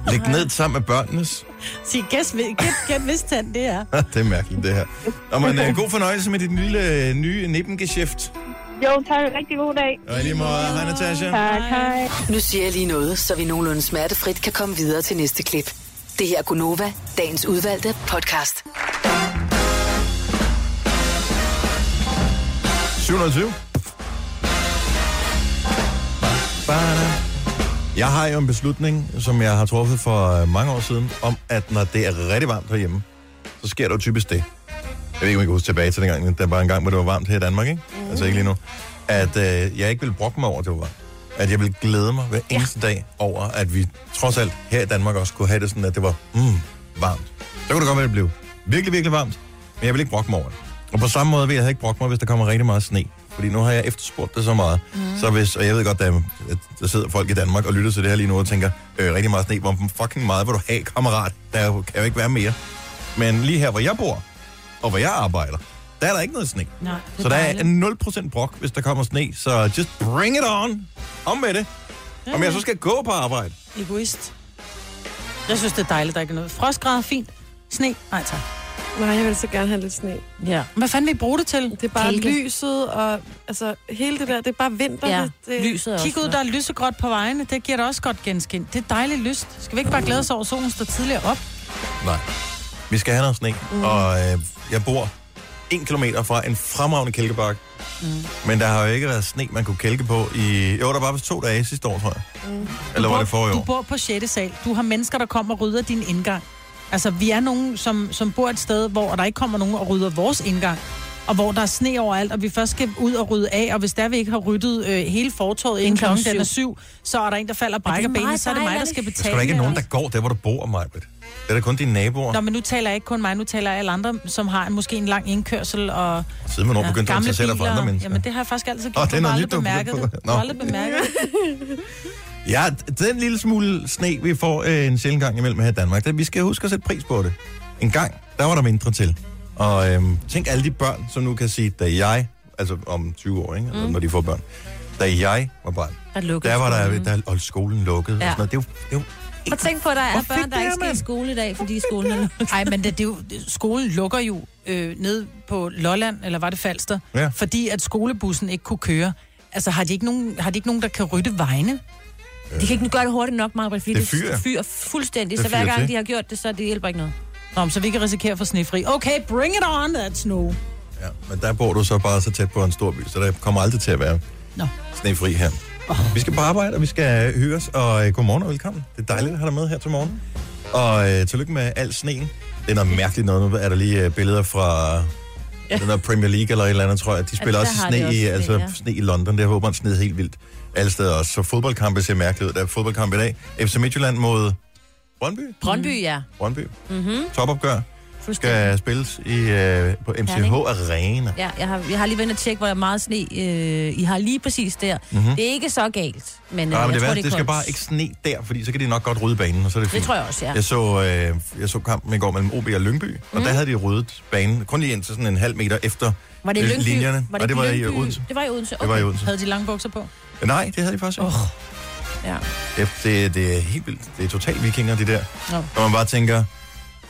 Læg den ned sammen med børnenes.
Sig, gæt, gæt, gæt, hvis tand det er.
det er mærkeligt, det her. Nå, men øh, god fornøjelse med din lille øh, nye Nippengeschæft.
Jo, tak. Rigtig god dag.
Og i lige måde, hej Natasha.
Tak, hej.
Nu siger jeg lige noget, så vi nogenlunde smertefrit kan komme videre til næste klip. Det her er Gunova, dagens udvalgte podcast.
720. Ba-da. Jeg har jo en beslutning, som jeg har truffet for øh, mange år siden, om at når det er rigtig varmt herhjemme, så sker der jo typisk det. Jeg ved ikke, om jeg kan huske tilbage til dengang, der var en gang, hvor det var varmt her i Danmark, ikke? Mm. Altså ikke lige nu. At øh, jeg ikke ville brokke mig over, at det var varmt. At jeg ville glæde mig hver eneste ja. dag over, at vi trods alt her i Danmark også kunne have det sådan, at det var mm, varmt. Så kunne det godt være, det blev virkelig, virkelig varmt, men jeg ville ikke brokke mig over det. Og på samme måde vil jeg ikke brokke mig, hvis der kommer rigtig meget sne. Fordi nu har jeg efterspurgt det så meget. Mm. Så hvis, og jeg ved godt, der, er- at der sidder folk i Danmark og lytter til det her lige nu og tænker, øh, rigtig meget sne, hvor fucking meget vil du have, kammerat? Der er jo- kan jo ikke være mere. Men lige her, hvor jeg bor, og hvor jeg arbejder, der er der ikke noget sne.
Nej,
Så der er 0% brok, hvis der kommer sne. Så just bring it on. Om med det. Om jeg så skal gå på arbejde.
Egoist. Jeg synes, det er dejligt, der ikke er noget. Frostgrad er fint. Sne? Nej, tak.
Nej, jeg vil så gerne have lidt sne.
Ja. Hvad fanden vil I bruge det til?
Det er bare
Kælke.
Kælke. lyset og altså, hele det der, det er bare vinter.
Ja,
Det, det,
lyset er
Kig
også
øh, ud, der er lysegråt på vejene. Det giver da også godt genskin. Det er dejligt lyst. Skal vi ikke bare glæde os over, at solen står tidligere op?
Nej. Vi skal have noget sne. Mm. Og øh, jeg bor en kilometer fra en fremragende kælkebakke. Mm. Men der har jo ikke været sne, man kunne kælke på i... Jo, der var vist to dage sidste år, tror jeg. Mm. Eller var det forrige
Du
år?
bor på 6. sal. Du har mennesker, der kommer og rydder din indgang. Altså, vi er nogen, som, som bor et sted, hvor der ikke kommer nogen og rydder vores indgang. Og hvor der er sne overalt, og vi først skal ud og rydde af. Og hvis der vi ikke har ryddet øh, hele fortorvet inden
klokken
klokken den er syv, så er der en, der falder og brækker benet,
meget
så er det mig, der
dejligt.
skal
Der
Der
betale.
skal der ikke
det.
nogen, der går der, hvor du bor, Majbrit. Det er da kun dine naboer.
Nå, men nu taler jeg ikke kun mig, nu taler jeg alle andre, som har en, måske en lang indkørsel og
Siden man nu begyndte at interessere dig for andre mennesker.
Jamen, det har jeg faktisk altid gjort.
Åh,
Oh,
det er
du har
noget
aldrig
nyt, du har
bemærket
fundet på.
det. Du
Nå.
har aldrig bemærket det.
Ja, den lille smule sne, vi får øh, en sjældent gang imellem her i Danmark, det, vi skal huske at sætte pris på det. En gang, der var der mindre til. Og øh, tænk alle de børn, som nu kan sige, da jeg, altså om 20 år, ikke? Altså, når de får børn, da jeg var barn,
Mm. Der lukkede
der var der,
skolen.
der og skolen lukket. Ja.
Ja.
Og sådan noget. Det, er jo- det, er jo-
Og tænk på, at der er
Hvor fedt
børn, der
det
ikke
er,
skal i
mand.
skole i dag, fordi skolen er lukket.
Nej, men det, det er jo, skolen lukker jo øh, ned på Lolland, eller var det Falster,
Ja.
fordi at skolebussen ikke kunne køre. Altså, har de ikke nogen, har de ikke nogen der kan rydde vejene?
De kan ikke gøre det hurtigt nok, Marbert, fordi
Det
det
fyrer.
fyrer, fyrer fuldstændig.
Det
Så hver
fyrer til.
gang de har gjort det, så det hjælper ikke noget.
Nå, men så vi kan risikere at få snefri. Okay, bring it on, that snow.
ja, men der bor du så bare så tæt på en stor by, så der kommer aldrig til at være
Nå.
snefri her. Vi skal på arbejde, og vi skal høre os, og øh, godmorgen og velkommen. Det er dejligt at have dig med her til morgen. Og øh, tillykke med al sneen. Det er noget mærkeligt noget. Nu er der lige øh, billeder fra ja. den der Premier League eller et eller andet, tror jeg. De spiller
der
altså, også
har
i
de
sne, i,
også
altså,
sne,
ja.
ja.
sne i London. Det håber man sned helt vildt alle steder også. Så fodboldkampe ser mærkeligt ud. Der er fodboldkamp i dag. FC Midtjylland mod Brøndby.
Brøndby, ja.
Brøndby. Mm-hmm. Topopgør. skal spilles i, øh, på MCH
Herning.
Arena.
Ja, jeg har, jeg har lige været inde og tjekke, hvor der er meget sne. Øh, I har lige præcis der.
Mhm.
Mm-hmm. Det er ikke så galt,
Nej,
men, øh,
men det,
jeg tror,
værste,
det, er
det skal
koldt.
bare ikke sne der, fordi så kan de nok godt rydde banen, og så er det
Det
fint.
tror jeg også, ja. Mm-hmm.
Jeg så, øh, jeg så kampen i går mellem OB og Lyngby, og der havde de ryddet banen kun lige ind til sådan en halv meter efter
Var det
øh,
Lyngby?
linjerne.
Var det
og det
ikke
var i øh,
Lyngby?
Odense.
Det var i Odense.
Det var i Odense.
Havde de lange bukser på?
Nej, det havde de faktisk ikke. Oh.
Ja.
Det, det, det er helt vildt. Det er totalt vikinger, det der.
Nå.
Når man bare tænker,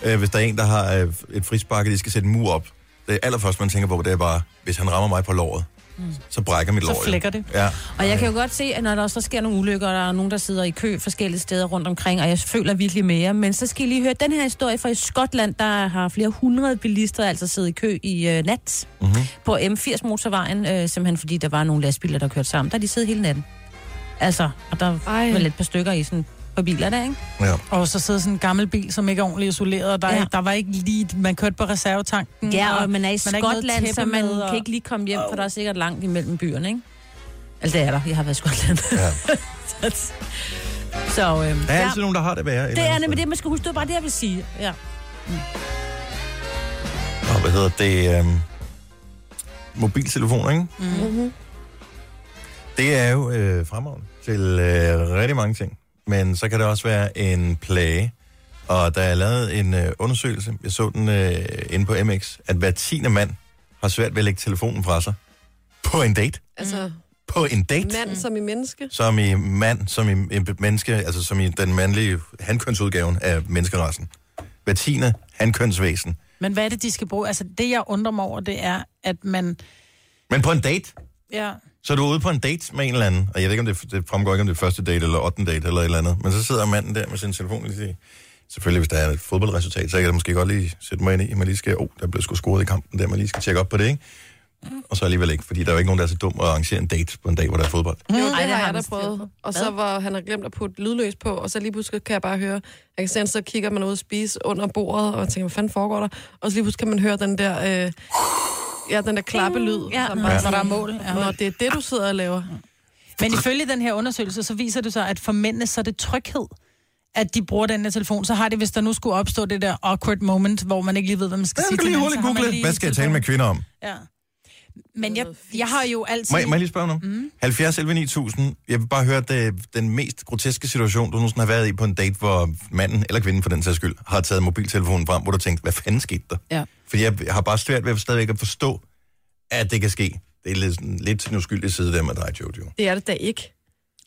øh, hvis der er en, der har øh, et frispark, og de skal sætte en mur op, det allerførste, man tænker på, det er bare, hvis han rammer mig på låret, mm. så brækker mit
Så
lår. jo.
flækker det.
Ja.
Og jeg kan jo godt se, at når der også sker nogle ulykker, og der er nogen, der sidder i kø forskellige steder rundt omkring, og jeg føler virkelig mere. Men så skal I lige høre den her historie fra i Skotland, der har flere hundrede bilister altså siddet i kø i øh, nat
mm-hmm.
på M80-motorvejen, øh, simpelthen fordi der var nogle lastbiler, der kørte sammen. Der har de siddet hele natten. Altså, og der var lidt et par stykker i sådan på biler der, ikke?
Ja.
Og så sidder sådan en gammel bil, som ikke er ordentligt isoleret, og der, ja. der var ikke lige... Man kørte på reservetanken.
Ja, Mm, og man er i
ikke noget
Skotland, så
tæppe
man
med, og-
kan ikke lige komme hjem, for der er sikkert langt imellem byerne, ikke? Altså, det er der. Jeg har været i Skotland.
Ja.
så, øhm,
Der er altid nogen, der har det værre. et
Det
eller
er
andet
nemlig det, man skal huske. Det var bare det, jeg vil sige. Ja.
sted. Og hvad hedder det? Øh, mobiltelefoner, ikke?
Mm-hmm.
Det er jo øh, fremragende til øh, rigtig mange ting. Men så kan det også være en plage. Og der er lavet en øh, undersøgelse, jeg så den øh, inde på MX, at hver tiende mand har svært ved at lægge telefonen fra sig. På en date.
Altså,
Mm.
På en date. Mm.
mand som i menneske.
Som i mand, som i en menneske, altså som i den mandlige handkønsudgaven af menneskerassen. Hver tiende handkønsvæsen.
Men hvad er det, de skal bruge? Altså, det jeg undrer mig over, det er, at man...
Men på en date,
Ja,
Så er du ude på en date med en eller anden, og jeg ved ikke, om det, det fremgår ikke, om det er første date eller ottende date eller et eller andet, men så sidder manden der med sin telefon og siger, selvfølgelig hvis der er et fodboldresultat, så kan jeg da måske godt lige sætte mig ind i, at man lige skal, oh, der blev sgu scoret i kampen der, man lige skal tjekke op på det, ikke? Og så alligevel ikke, fordi der er jo ikke nogen, der er så dum at arrangere en date på en dag, hvor der er fodbold.
Jo, det
Ej,
Ej,
det
har
har
jeg da
han styr
prøvet. Og så
Hvad?
hvor han har glemt at putte lydløs på, og så lige pludselig kan jeg bare høre, jeg kan se, han så kigger man ud og spise under bordet, og jeg tænker, hvad fanden foregår der? Og så lige pludselig kan man høre den der, øh, ja, den der klappelyd.
Ja,
som
når
sådan,
der er mål. Ja.
Når det er det, du sidder og laver.
Men ifølge den her undersøgelse, så viser det sig, at for mændene, så er det tryghed, at de bruger den her telefon. Så har det, hvis der nu skulle opstå det der awkward moment, hvor man ikke lige ved, hvad man skal
Ja,
sige
du kan lige hurtigt
hinanden, så har man
google,
lige
hvad skal jeg tale med kvinder om?
Ja. Men jeg, jeg har jo altid...
Må jeg, må jeg lige spørge noget? Mm. 70 11 9000. Jeg vil bare høre det, den mest groteske situation, du nogensinde har været i på en date, hvor manden eller kvinden for den sags skyld har taget mobiltelefonen frem, hvor du tænkte, hvad fanden skete der?
Ja.
Fordi jeg har bare svært ved at stadigvæk at forstå, at det kan ske. Det er lidt, sådan- lidt en uskyldig side der med dig, Jojo.
Det er det da ikke.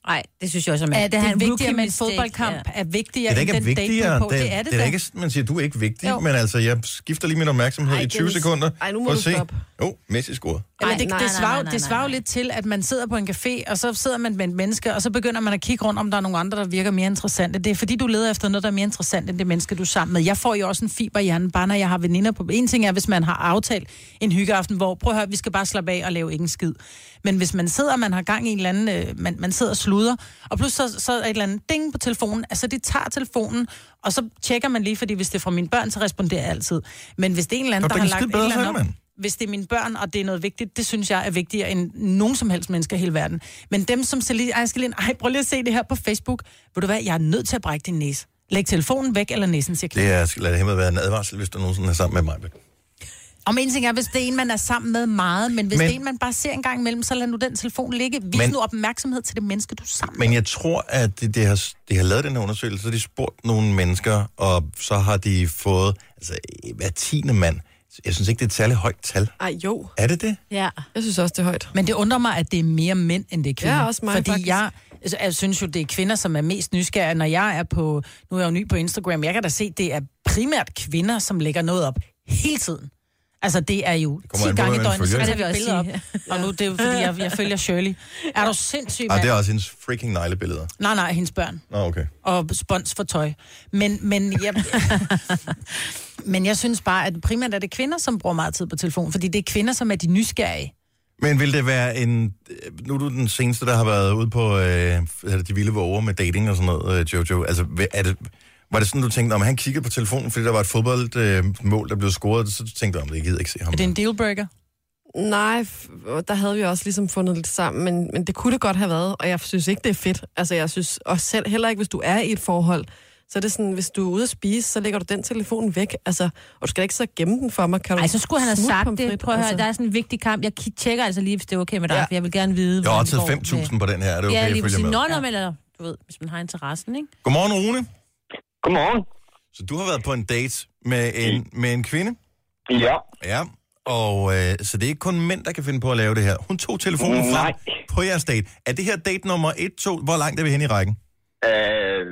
Nej, det synes jeg også er
Er det,
er
det
en
vigtigere med en
rookie
fodboldkamp?
mistake,
Ja. Er vigtigere
det er da
end
ikke
den
vigtigere.
date på?
Det, det er det, det er
da.
ikke, man siger, du er ikke vigtig,
Jo.
jo. men altså, jeg skifter lige min opmærksomhed
Ej,
i 20
Dennis.
sekunder.
Ej, nu må
for at
du
se.
stoppe.
Jo, oh, Messi scorede.
Eller det,
Nej,
det,
nej,
svarer,
nej,
det svarer jo lidt til, at man sidder på en café, og så sidder man med et menneske, og så begynder man at kigge rundt, om der er nogle andre, der virker mere interessante. Det er fordi, du leder efter noget, der er mere interessant, end det menneske, du er sammen med. Jeg får jo også en fiber i hjernen, bare når jeg har veninder på. En ting er, hvis man har aftalt en hyggeaften, hvor, prøv at høre, vi skal bare slappe af og lave ikke en skid. Men hvis man sidder, og man har gang i en eller anden, øh, man, man sidder og sluder, og pludselig så, så er et eller andet ding på telefonen, altså det tager telefonen, og så tjekker man lige, fordi hvis det er fra mine børn, så responderer jeg altid. Men hvis det er en eller anden,
Nå,
der
der
har
kan
lagt
skide
et
bedre
eller andet
selv,
op,
mand.
hvis det er mine børn, og det er noget vigtigt, det synes jeg er vigtigere end nogen som helst mennesker i hele verden. Men dem, som så lige, ej, skal lige, ej, prøv lige at se det her på Facebook. Ved du hvad, jeg er nødt til at brække din næse. Læg telefonen væk, eller næsen siger
Det er, lad det hemmelig være en advarsel, hvis du nogensinde er sammen med mig.
Om en ting er, hvis det er en, man er sammen med meget, men hvis
Men-
men... det er en, man bare ser en gang imellem, så lad nu den telefon ligge. Vis
Men-
men... nu opmærksomhed til det menneske, du er sammen med.
Men jeg tror, at det, det har, de har lavet den her undersøgelse, så har de spurgt nogle mennesker, og så har de fået, altså øh, hver tiende mand, jeg synes ikke, det er et særligt højt tal.
Ej, jo.
Er det det?
Ja.
Jeg synes også, det er højt.
Men det undrer mig, at det er mere mænd, end det er kvinder.
Ja, også mig,
Fordi
faktisk.
jeg, altså, jeg synes jo, det er kvinder, som er mest nysgerrige. Når jeg er på, nu er jeg jo ny på Instagram, jeg kan da se, det er primært kvinder, som lægger noget op hele tiden. Altså, det er jo 10
kommer an på,
gange
hvem man
i døgnet, så
følger.
tager
Det vil
vi
jeg
billeder op.
også
Og nu er det jo, fordi jeg, jeg følger Shirley. Er du sindssyg,
Ah,
mand?
det er også hendes freaking neglebilleder.
Nej, nej, hendes børn
Nå, okay.
og spons for tøj. Men, men, jeg, men jeg synes bare, at primært er det kvinder, som bruger meget tid på telefon, fordi det er kvinder, som er de nysgerrige.
Men vil det være en... øh, Nu er du den seneste, der har været ude på øh, hvad hedder det, de vilde våger med dating og sådan noget, øh, Jojo. Altså, vil- er det, var det sådan, du tænkte, om han kiggede på telefonen, fordi der var et fodboldmål, øh, mål, der blev scoret, så tænkte du, om det gider jeg ikke se ham.
Er det en dealbreaker?
Nej, f- der havde vi også ligesom fundet lidt sammen, men, men det kunne det godt have været, og jeg synes ikke, det er fedt. Altså, jeg synes også selv, heller ikke, hvis du er i et forhold, Så er det sådan, hvis du er ude at spise, så lægger du den telefon væk. Altså, og du skal da ikke så gemme den for mig. Kan du
Ej, så skulle han have
smutte
sagt
pomfrit,
det. Prøv at høre,
altså?
der er sådan en vigtig kamp. Jeg ki- tjekker altså lige, hvis det er okay med dig, ja. for jeg vil gerne vide,
Jeg har
hvordan
også
det går
taget 5.000 på den her. Er det okay,
ja,
jeg
lige
følger
præcis.
med?
Nå, nå, men eller, du ved, hvis man har interessen, ikke?
Godmorgen, Rune.
Godmorgen. Mm.
Så du har været på en date med en, med en kvinde?
Ja.
Ja, og øh, så det er ikke kun mænd, der kan finde på at lave det her. Hun tog telefonen frem på jeres date. Er det her date nummer 1, 2? Hvor langt er vi henne i rækken?
Øh,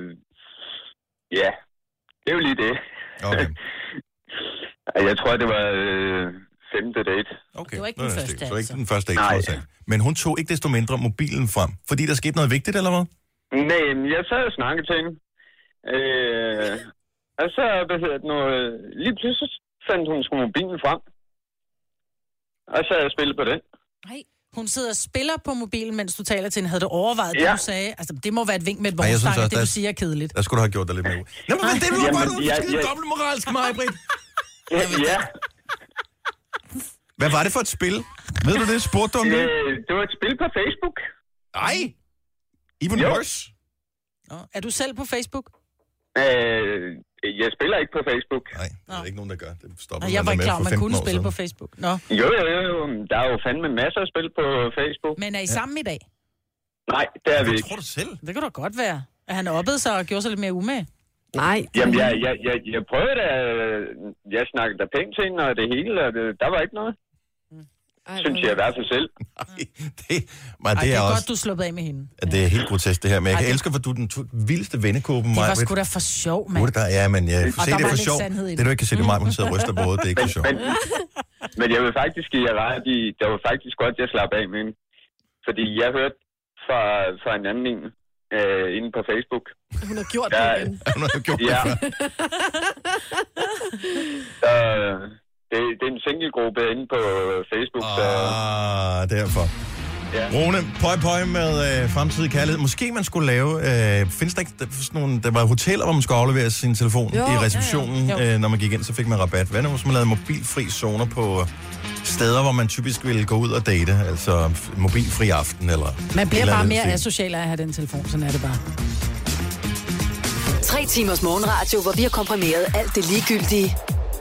ja, det er jo lige det.
Okay.
jeg tror, det var øh, femte date.
Okay.
Det var
Nå, det er stil. Så
altså.
ikke den første date, trods alt. Men hun tog ikke desto mindre mobilen frem, fordi der skete noget vigtigt, eller hvad?
Nej, men jeg sad og snakkede til hende. Øh, og så, hvad hedder det nu, øh, lige pludselig fandt hun sgu mobilen frem. Og så jeg og spillede på den.
Nej. Hun sidder og spiller på mobilen, mens du taler til hende. Havde du overvejet ja.
Ja.
det, du sagde? Altså, det må være et vink med et
Ej, jeg synes
vognstang,
også,
at det,
der-
du siger, er kedeligt.
Der skulle du have gjort dig lidt mere ud. Nå, men det var
Jamen,
godt, du
jeg-
skide
jeg-
dobbeltmoralsk, Maj-Brit.
Ja.
Hvad var det for et spil? Ved du det? Spurgte du om det?
Øh, det var et spil på Facebook.
Nej. Even
Jo.
worse.
Nå. Er du selv på Facebook?
Øh, jeg spiller ikke på Facebook.
Nej, der er ikke nogen, der gør. Det stopper
Nå, jeg var ikke klar, om, man kunne spille på
Facebook.
Facebook. Nå.
Jo, jo, jo, jo. men Der er jo fandme masser af spil på Facebook.
Men er I sammen i dag?
Nej, det er vi
Hvad
ikke.
tror du selv?
Det kan da godt være. At han oppede sig og gjorde sig lidt mere umage.
Nej.
Jamen, jeg, jeg, jeg, jeg prøvede da... Jeg snakkede da pænt til hende, og det hele, og det, der var ikke noget. Synes jeg i hvert fald selv.
Det, men
Ej,
det er
godt,
også...
du er sluppet af med hende.
at Det er helt grotesk, det her. Men jeg
Ej,
kan
det-
elske, for du er den to- vildeste vendekåbe,
Det var
Maj-Brit.
sgu da for sjov,
Burde
mand.
der, ja, men jeg
Og
se,
der
det er for
var lidt
sjovt.
sandhed i
Det,
det.
du ikke kan se, det er mig, hun sidder og ryster på hovedet. Det er ikke for sjovt.
Men, men jeg vil faktisk give jer ret i... Det var faktisk godt, jeg slap af med hende. Fordi jeg hørte fra, fra en anden en, øh, inde på Facebook.
Hun har gjort
Ja.
det igen.
Hun har gjort det
Ja.
før.
Øh, det, det er en singlegruppe inde på Facebook, så...
Ah, derfor.
Ja.
Rune, pøj pøj med øh, fremtidig kærlighed. Måske man skulle lave... Øh, findes der ikke der, sådan nogle... Der var hoteller, hvor man skulle aflevere sin telefon
Jo,
jo, i receptionen,
ja,
ja,
ja.
ja. Øh, når man gik ind, så fik man rabat. Hvad nu, hvis man lavede mobilfri zoner på øh, steder, hvor man typisk ville gå ud og date? Altså f- mobilfri aften eller...
Man bliver
eller
bare
andet
mere
ting.
asocial af at have den telefon. Sådan er det bare.
Tre timers morgenradio, hvor vi har komprimeret alt det ligegyldige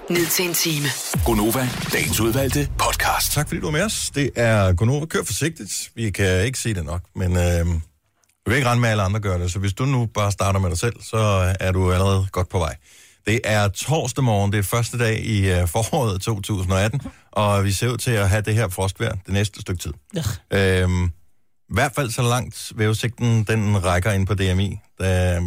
ned til en time.
Gonova, dagens udvalgte podcast.
Tak fordi du var med os. Det er Gonova. Kør forsigtigt. Vi kan ikke se det nok, men øh, vi vil ikke rende med, at alle andre gør det. Så hvis du nu bare starter med dig selv, så er du allerede godt på vej. Det er torsdag morgen. Det er første dag i øh, foråret 2018, og vi ser ud til at have det her frostvejr det næste stykke tid.
Ja.
Øhm, I hvert fald så langt vævesigten, den rækker ind på DMI. Der,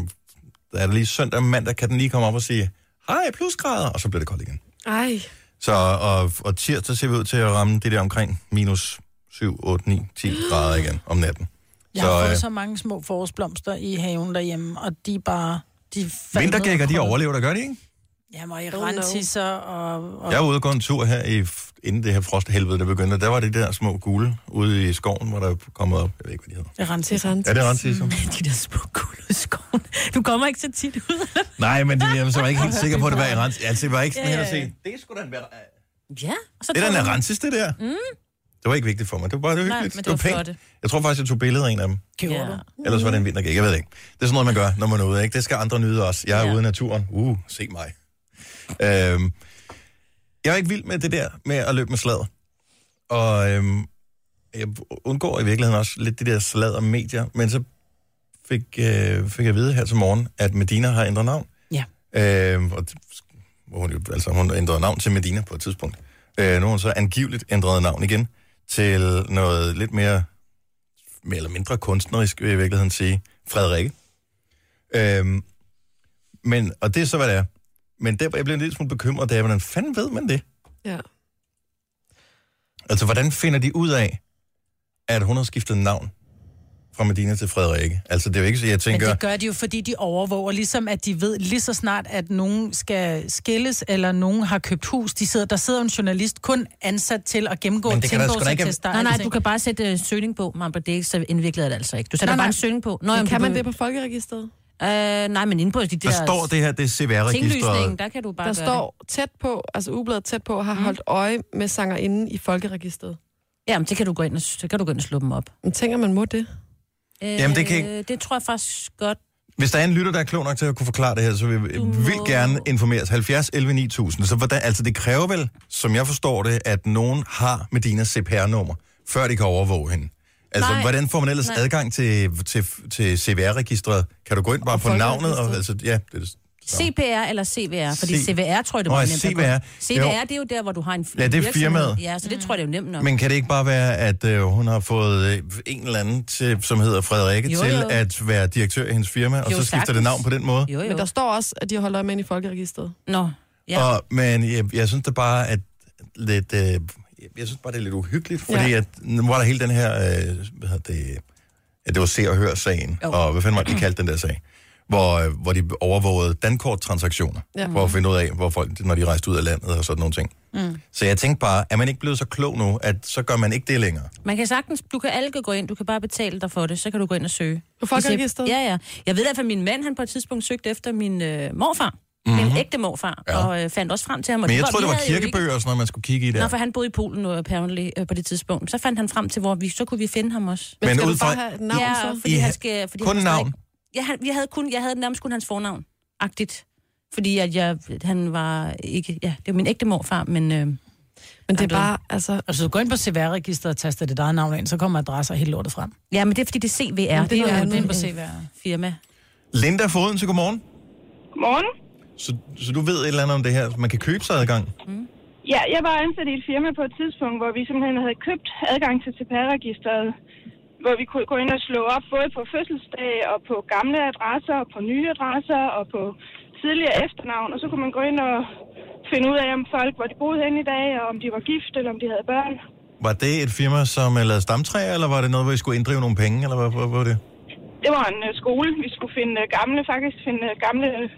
der er det lige søndag og mandag, kan den lige komme op og sige, hej, plusgrader, og så bliver det koldt igen.
Ej.
Så, og, og tirsdag ser vi ud til at ramme det der omkring minus 7, 8, 9, 10 grader igen om natten.
Jeg har
så øh,
fået så mange små forårsblomster i haven derhjemme, og de er bare... De er
øh,
faldet
vintergækker, de
ned og
overlever der gør de ikke?
krøllet. Jamen, og i
no.
rentisser og... og
Jeg var ude og gå en tur her, i, inden det her frosthelvede der begyndte. Der var det der små gule ude i skoven, hvor der kom op. Jeg ved ikke, hvad de hedder.
ja. rentisser.
Rent.
Ja, det er rensiser.
De der små guld i skoven. Du kommer ikke så tit ud.
Nej, men det, jeg var så ikke helt sikker på, at det var i rens. Altså, det var ikke sådan her at se. Det er sgu da en ver-
ja. Og så
Det er
tager
da en
du-
rensis, det der. Mm. Det var ikke vigtigt for mig. Det var bare det var
Nej,
hyggeligt.
men
det
det var
var
flotte.
pænt. Jeg tror faktisk, jeg tog billeder af en af dem.
Gjorde
Ja.
du?
Ellers var det en vintergæk, jeg ved det ikke. Det er sådan noget, man gør, når man er ude, ikke? Det skal andre nyde også. Jeg er
Ja.
ja. ude i naturen. Uh, se mig. Øhm, jeg er ikke vild med det der med at løbe med sladder. Og øhm, jeg undgår i virkeligheden også lidt det der sladder medier, men så fik, øh, fik jeg at vide her til morgen, at Medina har ændret navn.
Ja.
Øhm, og det, hvor hun, jo- altså, hun ændrede navn til Medina på et tidspunkt. Øh, nu har hun så angiveligt ændret navn igen til noget lidt mere mere eller mindre kunstnerisk, vil jeg i virkeligheden sige, Frederikke. Øhm, men, og det er så, hvad det er. Men der, hvor jeg blev en lille smule bekymret, det er, hvordan fanden ved man det?
Ja.
Altså, hvordan finder de ud af, at hun har skiftet navn fra Medina til Frederikke? Altså, det er jo ikke så, jeg
Men
tænker...
det gør de jo, fordi de overvåger, ligesom at de ved lige så snart, at nogen skal skilles, eller nogen har købt hus. De sidder, der sidder en journalist kun ansat til at gennemgå
Men det kan der sgu da
tingbogsattester.
Nej, nej, du kan bare sætte øh, søgning på, Mamba. Det er ikke så indviklet er det altså ikke. Du sætter
Nej, nej.
bare en søgning på. Nå,
Men
jamen,
kan
du
man
kan-
det på folkeregisteret?
Øh, nej, men inde på de der...
Der står det her, det er CVR-registret.
Tinglysningen, der kan du bare
Der
gøre Mhm.
står tæt på, altså ubladet tæt på, har holdt øje med sangerinden i folkeregisteret.
det. Jamen, det kan du gå ind og, det kan du gå ind og slå dem op.
Men tænker man må det?
Øh,
Jamen, det kan ikke-
Det tror jeg faktisk godt...
Hvis der er en lytter, der er klog nok til at kunne forklare det her, så vil vi vildt gerne informeres. 70 11 9000. Så hvordan, altså det kræver vel, som jeg forstår det, at nogen har Medinas CPR-nummer, før de kan overvåge hende. Altså,
Nej.
Nej. hvordan får man ellers
Nej.
Nej. adgang til, til, til CVR-registret? Kan du gå ind bare på navnet? Og, altså, ja, det er
CPR eller CVR? Fordi
C-
CVR tror jeg, det
Nå,
var
ja,
nemt. at
CVR.
gå. CVR, det er jo der, hvor du har en
Ja, det er
virksomhed.
firmaet.
Ja, så det tror jeg, det er jo nemt nok.
Men kan det ikke bare være, at øh, hun har fået øh, en eller anden, til, som hedder Frederikke,
Jo,
jo, til
jo.
jo. at være direktør i hendes firma, og
Jo,
så skifter
sagtens.
det navn på den måde?
Jo, jo.
Men der står også, at de holder øje med ind i folkeregisteret.
Nå.
Ja. Og, men jeg, jeg synes da bare, at lidt, øh, jeg synes bare, det er lidt uhyggeligt, fordi ja. at, nu var der hele den her, øh, hvad hedder det, at det var Se og Hør-sagen,
Jo.
og hvad fanden var det, de kaldte den der sag, hvor, øh, hvor de overvågede dankorttransaktioner,
Ja.
ja. for at finde ud af, hvor folk, når de rejste ud af landet og sådan nogle ting.
Mm.
Så jeg tænkte bare, er man ikke blevet så klog nu, at så gør man ikke det længere?
Man kan sagtens, du kan alle kan gå ind, du kan bare betale dig for det, så kan du gå ind og søge.
På Folkeregisteret?
I ser- Ja, ja. Jeg ved i hvert fald, at min mand, han på et tidspunkt søgte efter min øh, morfar.
Mhm.
Mm-hmm. Min ægte morfar, ja. og øh, fandt også frem til ham. Og
Men jeg
var-
troede,
vi
det var
havde jo ikke-
kirkebøger og sådan noget, man skulle kigge i der.
Nå, for han boede i Polen nu, apparently, øh, på det tidspunkt. Så fandt han frem til, hvor vi, så kunne vi finde ham også.
Men Men skal ud du bare fra- have et navn,
ja,
så?
Fordi
I
han
ha-
skal, fordi
kun
han skal
navn?
Ikke, ja, han, vi havde kun, jeg havde nærmest kun hans fornavn, agtigt. Fordi at jeg, han var ikke, ja, det var min ægte morfar, men... Øh, men
det er bare, altså...
Altså, du går ind på CVR-registret og taster dit eget navn ind, så kommer adresser og hele lortet frem.
Ja, men det er fordi, det er CVR.
er
det
noget
er jo
andet
en
end på
øh, firma.
Linda Foden, så godmorgen.
Morgen.
Så, så du ved et eller andet om det her, man kan købe sig adgang?
Ja, jeg var ansat i et firma på et tidspunkt, hvor vi simpelthen havde købt adgang til CPR-registeret, hvor vi kunne gå ind og slå op både på fødselsdag og på gamle adresser og på nye adresser og på tidligere efternavn, og så kunne man gå ind og finde ud af, om folk, hvor de boede henne i dag, og om de var gift, eller om de havde børn.
Var det et firma, som øh, lavede stamtræer, eller var det noget, hvor I skulle inddrive nogle penge, eller hvad, hvad, hvad var det?
Det var en øh, skole, vi skulle finde øh, gamle, faktisk finde øh, gamle øh,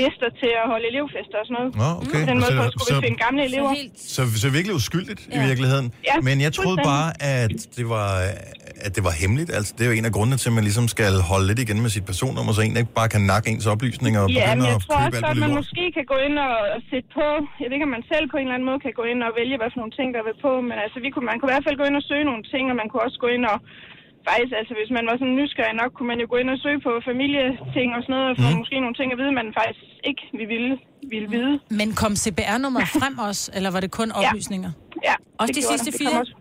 lister til at holde elevfester og sådan noget.
Nå, okay.
På den måde
Så-
så, skulle vi
så-
finde gamle elever.
Så, så virkelig uskyldigt ja.
Ja.
i virkeligheden.
Ja,
Men jeg troede
fuldstændig.
bare, at det, var, øh, at det var hemmeligt. Altså, det er jo en af grundene til, at man ligesom skal holde lidt igen med sit personnummer, så en ikke bare kan nakke ens oplysninger og
Ja, men
begynde
jeg
at
tror
købe
også
alt
godt,
muligt
man
lort.
måske kan gå ind og, og sætte på. Jeg ved ikke, om man selv på en eller anden måde kan gå ind og vælge, hvad for nogle ting, der vil på. Men altså, vi kunne, man kunne i hvert fald gå ind og søge nogle ting, og man kunne også gå ind og... Faktisk, altså, hvis man var sådan nysgerrig nok, kunne man jo gå ind og søge på familieting og sådan noget, og få
Mhm.
mm. måske nogle ting at vide, man faktisk ikke ville, ville vide.
Men kom CPR-nummeret frem også, eller var det kun oplysninger?
Ja,
Også
det
de
gjorde
sidste
der. Det
fire?
kom også.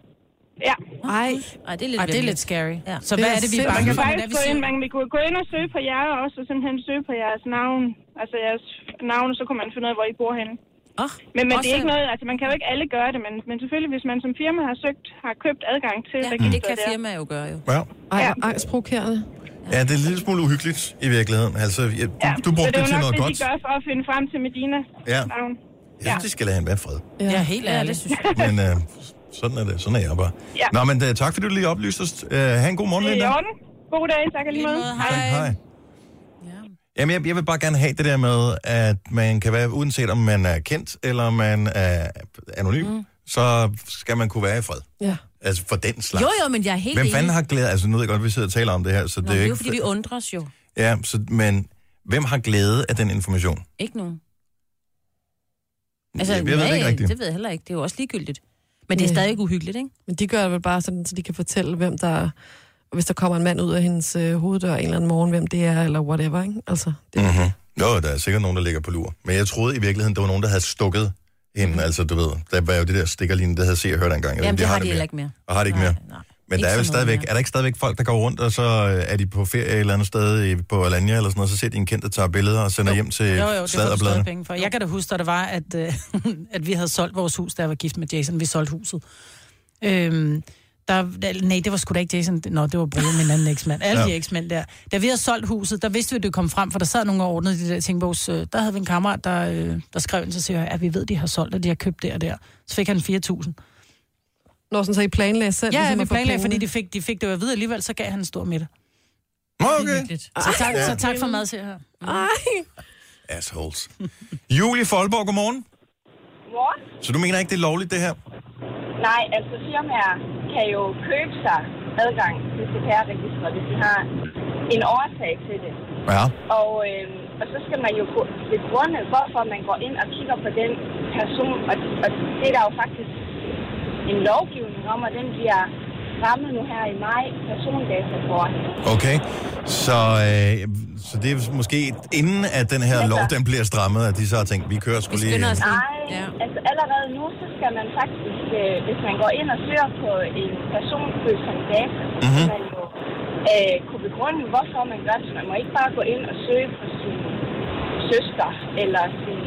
Ja.
Ej.
Ej, det er lidt,
Ej, det er
vildt.
lidt scary.
Ja.
Så hvad er det, vi er
man
bange
kan
for? Hvad er
faktisk
vi
gå ind,
siger?
man kan gå ind og søge på jer også, og simpelthen søge på jeres navn. Altså jeres navn, så kunne man finde ud af, hvor I bor henne.
Oh,
Men, men det
også-
er ikke noget, altså man kan jo ikke alle gøre det, men, men selvfølgelig, hvis man som firma har søgt, har købt adgang til
Ja,
registret
det kan
der.
firmaer jo gøre, jo.
Ja.
Ej, ja. angstprovokerende.
ja, det er en lille smule uhyggeligt i virkeligheden. Altså, ja, du, ja. du
så
brugte
det
det,
er jo
til
nok
noget
det,
godt.
de gør for at finde frem til Medina.
Ja.
Navn.
Jeg synes, de skal lade hende være fred.
Ja, helt ærligt.
Ja, det synes jeg.
Men øh, sådan er det. Sådan er jeg bare.
Ja.
Nå, men øh, tak fordi du lige oplyste os. Øh, ha' en god morgen,
Det er i
Linda.
orden. God dag, tak alligevel.
Hej. Jamen, jeg, jeg vil bare gerne have det der med, at man kan være, uanset om man er kendt eller man er anonym, mm. så skal man kunne være i fred.
Ja.
Altså for den slags.
Jo, jo, men jeg er helt
Hvem fanden
enig.
har glæde? Altså nu ved jeg godt, at vi sidder og taler om det her, så
Nå,
det er
det
jo
er
ikke...
jo, fordi vi undrer os jo.
Ja, så, men hvem har glæde af den information?
Ikke nogen.
Altså, jeg, jeg ved det ikke rigtigt.
Det ved jeg heller ikke. Det er jo også ligegyldigt. Men det er
Ja.
stadig uhyggeligt, ikke?
Men de gør det vel bare sådan, så de kan fortælle, hvem der... Hvis der kommer en mand ud af hendes øh, hoveddør en eller anden morgen, hvem det er, eller whatever, ikke? Altså, det,
Mm-hmm. Jo, der er sikkert nogen, der ligger på lur. Men jeg troede i virkeligheden, der var nogen, der havde stukket hende. Mm-hmm. Altså, du ved, der var jo det der stikkerline, der havde set og hørt engang. Altså,
Mhm. Jamen, det har de
mere.
heller ikke mere.
Og har det ikke
Nej,
mere.
nej.
Men
Ikke
der er, jo
sådan noget
stadigvæk,
mere.
er der ikke stadigvæk folk, der går rundt, og så øh, er de på ferie et eller andet sted i- på Alanya eller sådan noget, så ser de en kendt, der tager billeder og sender hjem til
Jo, jo, det får du stadig
øh, sladderbladene.
penge for. Jeg kan da huske, da det var, at, øh, at vi havde solgt vores hus, da jeg var gift med Jason. Vi solgte huset. Øhm, der, der- nej, det var sgu da ikke Jason. Nå, det var Bruno, min anden eksmand. Alle ja. de
Ja.
eksmænd der. Da vi havde solgt huset, der vidste vi, at det kom frem, for der sad nogle og ordnede de der ting. Vores, øh, der havde vi en kammerat, der, øh, der skrev ind, så siger jeg, at vi ved, de har solgt, og de har købt der og der. Så fik han 4.000.
når sådan, så I planlagde selv,
Ja, ja,
ligesom
vi
at få
planlagde,
pengene.
fordi de fik, de fik det jo at vide alligevel, så gav han en stor middag.
Nå, okay.
Så tak, så tak for mad, siger jeg.
Assholes. Julie Folborg, godmorgen.
Morgen?
Så du mener ikke, det er lovligt, det her?
Nej, altså firmaer kan jo købe sig adgang til CPR-registret, hvis de har en årsag til det.
Ja.
Og, øh, og så skal man jo kunne begrunde, hvorfor man går ind og kigger på den person. Og, og det er der jo faktisk en lovgivning om, og den bliver fremmed nu her i maj persondatakortet.
Okay, så, øh, så det er måske inden, at den her lov den bliver strammet, at de så har tænkt, vi kører skulle lige...
Nej, altså allerede nu, så skal man faktisk, øh, hvis man går ind og søger på en personfølsom data, mm-hmm. så
Mhm.
skal man jo øh, kunne begrunde, hvorfor man gør det. Så man må ikke bare gå ind og søge på sin søster eller sin,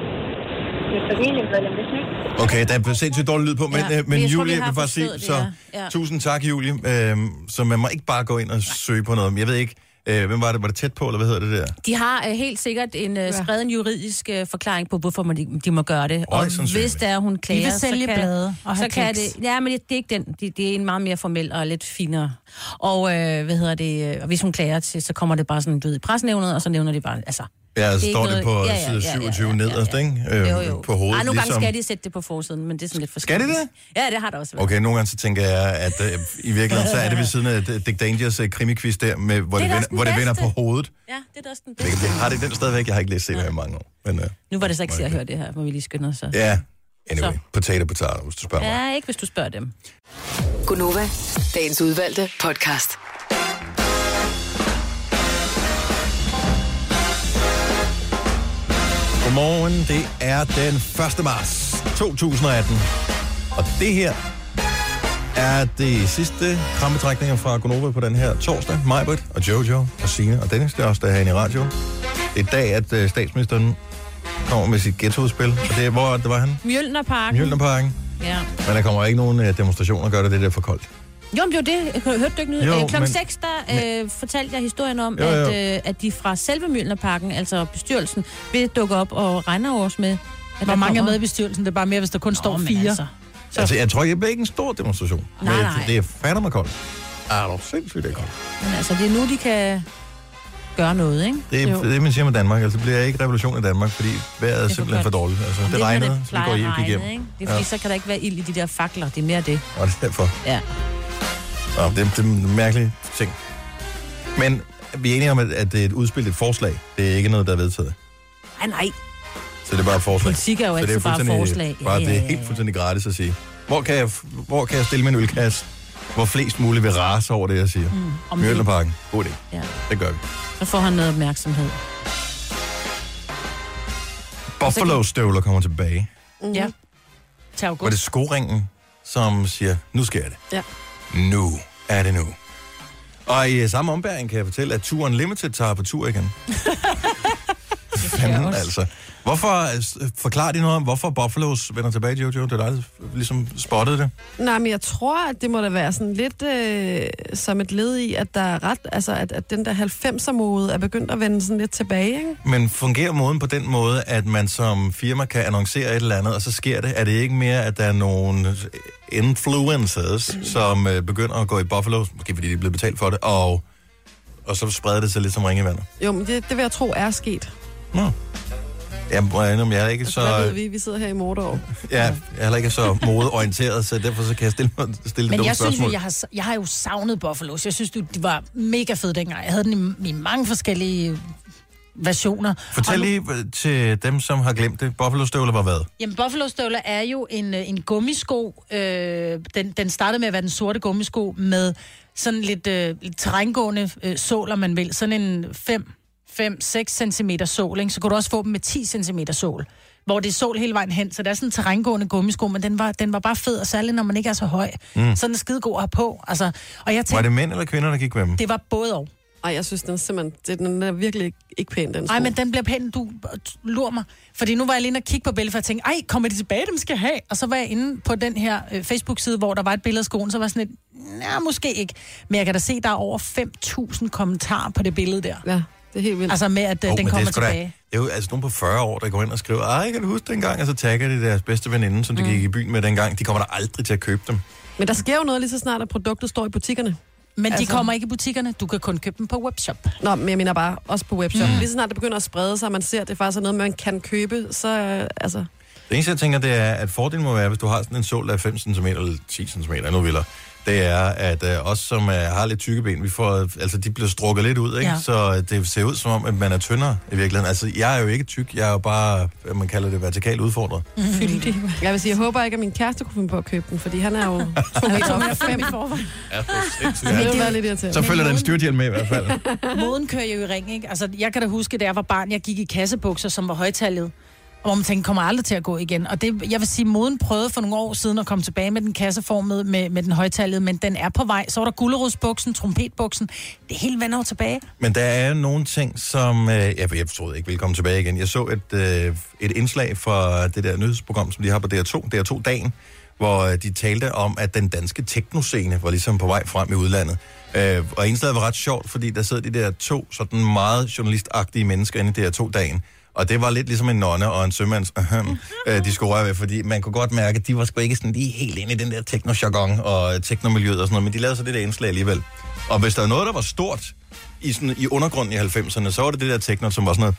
sin familiemedlem. Hvis man ikke
Okay, der er sindssygt dårlig lyd på, men,
Ja,
ja, men
men jeg tror,
Julie,
vi
jeg
har
vil bare sige,
forstået det,
så
ja. Ja.
tusind tak, Julie. Øhm, så man må ikke bare gå ind og søge på noget. Jeg ved ikke, øh, hvem var det? Var det tæt på, eller hvad hedder det der?
De har øh, helt sikkert en, øh, skrevet en juridisk øh, forklaring på, hvorfor man, de, de må gøre det. Og
sandsynligt.
hvis der er, hun klager,
Vi vil sælge
så kan,
blade og
så
have
kan
kiks.
det... Ja, men det, det er ikke den. Det, det er en meget mere formel og lidt finere. Og øh, hvad hedder det? øh, Og hvis hun klager til, så kommer det bare sådan ud i presnævnet, og så nævner de bare... Altså,
Ja,
er
så
ikke
står det
noget-
på
ja, ja,
side
ja, ja,
27 nederst, ikke? Øh,
Jo, jo.
På hovedet, ligesom-
Ej, nogle gange skal de sætte det på forsiden, men det er sådan lidt
Skal de
forskelligt. det? Ja, det har der også været.
Okay, nogle gange så tænker jeg, at øh, i virkeligheden, så er det ved siden af D- Dick Dangers øh, krimikvist der, med, hvor det,
Det er da
vender,
også den
hvor det vender på
bedste.
hovedet.
Ja, det er da også den
Jeg
bedste.
har det den stadigvæk, jeg har ikke læst det i mange år. Men øh,
Nu var det så ikke til at høre det her, hvor vi lige skynder os. så.
ja, anyway, potato, potato, hvis du spørger mig.
Ja, ikke hvis du spørger dem.
Gunova, dagens udvalgte podcast.
Godmorgen, det er den 1. marts 2018. Og det her er det sidste krampetrækninger fra Gonova på den her torsdag. Majbert og Jojo og Signe og Dennis, det er også der er herinde i radioen. Det er i dag, at øh, statsministeren kommer med sit ghettoudspil. Og det er, hvor det var han?
Mjølnerparken.
Mjølnerparken.
Ja.
Men der kommer ikke nogen øh, demonstrationer, gør det, det der er for koldt.
Jo, men det var det. Jeg hørte du ikke nyheden?
Jo,
Øh, Klokken
men-
6, der øh, fortalte jeg historien om,
Jo,
jo,
jo.
jo. At, øh, at de fra selve Mjølnerparken, altså bestyrelsen, vil dukke op og regne over os med. At
Hvor
der
mange er
kommer-
med i bestyrelsen? Det er bare mere, hvis der kun Nå, står
men
fire.
altså.
Altså.
Så. Altså, jeg tror ikke, det bliver ikke en stor demonstration.
Nej,
men
nej.
det er fandme koldt. Er du sindssygt, det er koldt.
Men altså, det er nu, de kan gøre noget, ikke?
Det er
Jo.
det, man siger med Danmark. Altså, det bliver ikke revolution i Danmark, fordi vejret er simpelthen for dårligt. Altså, det,
er, når
regnede, så vi
plejer
går
at
hjem
regne,
gik hjem.
Ikke? Det er fordi, ja. så kan der ikke være ild i de der fakler. Det er mere det.
Og det er derfor.
Ja.
Nå, det, er- det er en mærkelig ting. Men vi er enige om, at, at det er et udspil, det er et forslag. Det er ikke noget, der er vedtaget.
Ej, nej.
Så det er bare et forslag.
Politik er jo
så det
altid bare
fuldstændig-
forslag. Ja,
Bare,
ja,
det er
ja,
helt fuldstændig gratis at sige. Hvor kan jeg, f- hvor kan jeg stille min ølkasse? Hvor flest muligt vil rase over det, jeg siger.
Mm,
Mm,
om
Mjølnerparken. God idé.
Ja.
Det gør vi.
Så får han noget opmærksomhed.
Buffalo-støvler kommer tilbage.
Mm-hmm. Ja. Til august.
Var det skoringen, som siger, nu sker det.
Ja.
Nu er det nu. Og i øh, samme ombæring kan jeg fortælle, at Turen Limited tager på tur igen. Fanden altså. Hvorfor, øh, s- forklar de noget om, hvorfor Buffaloes vender tilbage, Jojo? Det er dig, der f- ligesom spottede det.
Nej, men jeg tror, at det må da være sådan lidt øh, som et led i, at der er ret, altså at, at den der 90'er-mode er begyndt at vende sådan lidt tilbage, ikke?
Men fungerer moden på den måde, at man som firma kan annoncere et eller andet, og så sker det? Er det ikke mere, at der er nogle øh, influencers, som øh, begynder at gå i Buffalo, måske fordi de er blevet betalt for det, og, og så spreder det sig lidt som ringe i vandet?
Jo, men det, det vil jeg tro er sket.
Nå. Jeg må indrømme, jeg er ikke
Så... Hvad ved
så, øh,
vi? Vi sidder her i Mordor.
ja, jeg er heller ikke så modeorienteret, så derfor så kan jeg stille, mig- stille det
Men
dumme
jeg synes
spørgsmål.
jo, jeg har, jeg har jo savnet Buffaloes. Jeg synes, du, de var mega fede dengang. Jeg havde den i, i mange forskellige versioner.
Fortæl
Og nu-
lige øh, til dem, som har glemt det. Buffalo-støvler var hvad?
Jamen, Buffalo-støvler er jo en, øh, en gummisko. Øh, den, den startede med at være den sorte gummisko med sådan lidt, øh, lidt terrængående øh, sål, om man vil. Sådan en 5-6 cm sål, ikke? Så kunne du også få dem med 10 cm sål, hvor det er sål hele vejen hen. Så det er sådan en terrængående gummisko, men den var, den var bare fed, og særligt når man ikke er så høj.
Mm.
Mm. Så er den er skidegod at have på. Altså, og jeg tænkte,
Var det mænd eller kvinder, der gik med dem?
det var både og.
Ej, jeg synes, den er simpelthen, det- den er virkelig ikke, ikke pæn, den sko.
Nej, men den bliver pæn, du lurer mig. Fordi nu var jeg lige inde og kigge på billedet, for jeg tænkte, ej, kommer de tilbage, dem skal jeg have? Og så var jeg inde på den her øh, Facebook-side, hvor der var et billede af skoen, så var jeg sådan lidt, nej, måske ikke. Men jeg kan da se, der er over 5.000 kommentarer på det billede der.
Ja, det er helt vildt.
Altså med, at øh,
Åh, men
oh, den
det
kommer
er sgu da-
tilbage.
Det er jo altså nogen på 40 år, der går ind og skriver, ej, kan du huske dengang? Og så tagger de deres bedste veninde,
Mm.
som de gik i byen med dengang. De kommer da aldrig til at købe dem.
men der sker jo noget lige så snart, at produktet står i butikkerne. Altså-
Men de kommer ikke i butikkerne. Du kan kun købe dem på webshop.
Nå, men jeg mener bare, også på webshop.
Mm.
Mm. Lige så snart det begynder at sprede sig, og man ser, at det faktisk er noget, man kan købe, så øh, altså...
Det eneste, jeg tænker, det er, at fordelen må være, hvis du har sådan en sol, der er 5 cm eller 10 cm, nu vil det er, at øh, os, som øh, har lidt tykke ben, vi får, øh, altså, de bliver strukket lidt ud, ikke?
Ja.
Ja. Så øh, det ser ud som om, at man er tyndere i virkeligheden. Altså, jeg er jo ikke tyk, jeg er jo bare, øh, man kalder det vertikalt udfordret.
Mm.
Fyldig. Jeg vil sige, jeg håber ikke, at min kæreste kunne finde på at købe den, fordi han er jo to meter og fem.
Ja, for
Så det ville være lidt irriterende.
Så følger der en styrthjelm med i hvert fald.
Moden kører jo i ring, ikke? Altså, jeg kan da huske, da jeg var barn, jeg gik i kassebukser, som var højtallet. Og hvor man tænkte, kommer aldrig til at gå igen. Og det, jeg vil sige, moden prøvede for nogle år siden at komme tilbage med den kasseformede, med, med den højtallede, men den er på vej. Så var der gullerodsbuksen, trompetbuksen. Det hele vender jo tilbage.
Men der er nogle ting, som øh, jeg, jeg troede ikke ville komme tilbage igen. Jeg så et, øh, et indslag fra det der nyhedsprogram, som de har på DR2, DR2-dagen, hvor øh, de talte om, at den danske teknoscene var ligesom på vej frem i udlandet. Øh, og indslaget var ret sjovt, fordi der sad de der to sådan meget journalistagtige mennesker inde i DR2-dagen, og det var lidt ligesom en nonne og en sømands, ahem, øh, de skulle røre ved, fordi man kunne godt mærke, at de var sgu ikke sådan lige helt inde i den der teknojargon og øh, teknomiljøet og sådan noget, men de lavede så det der indslag alligevel. Og hvis der var noget, der var stort i, sådan, i undergrunden i 90'erne, så var det det der techno, som var sådan noget,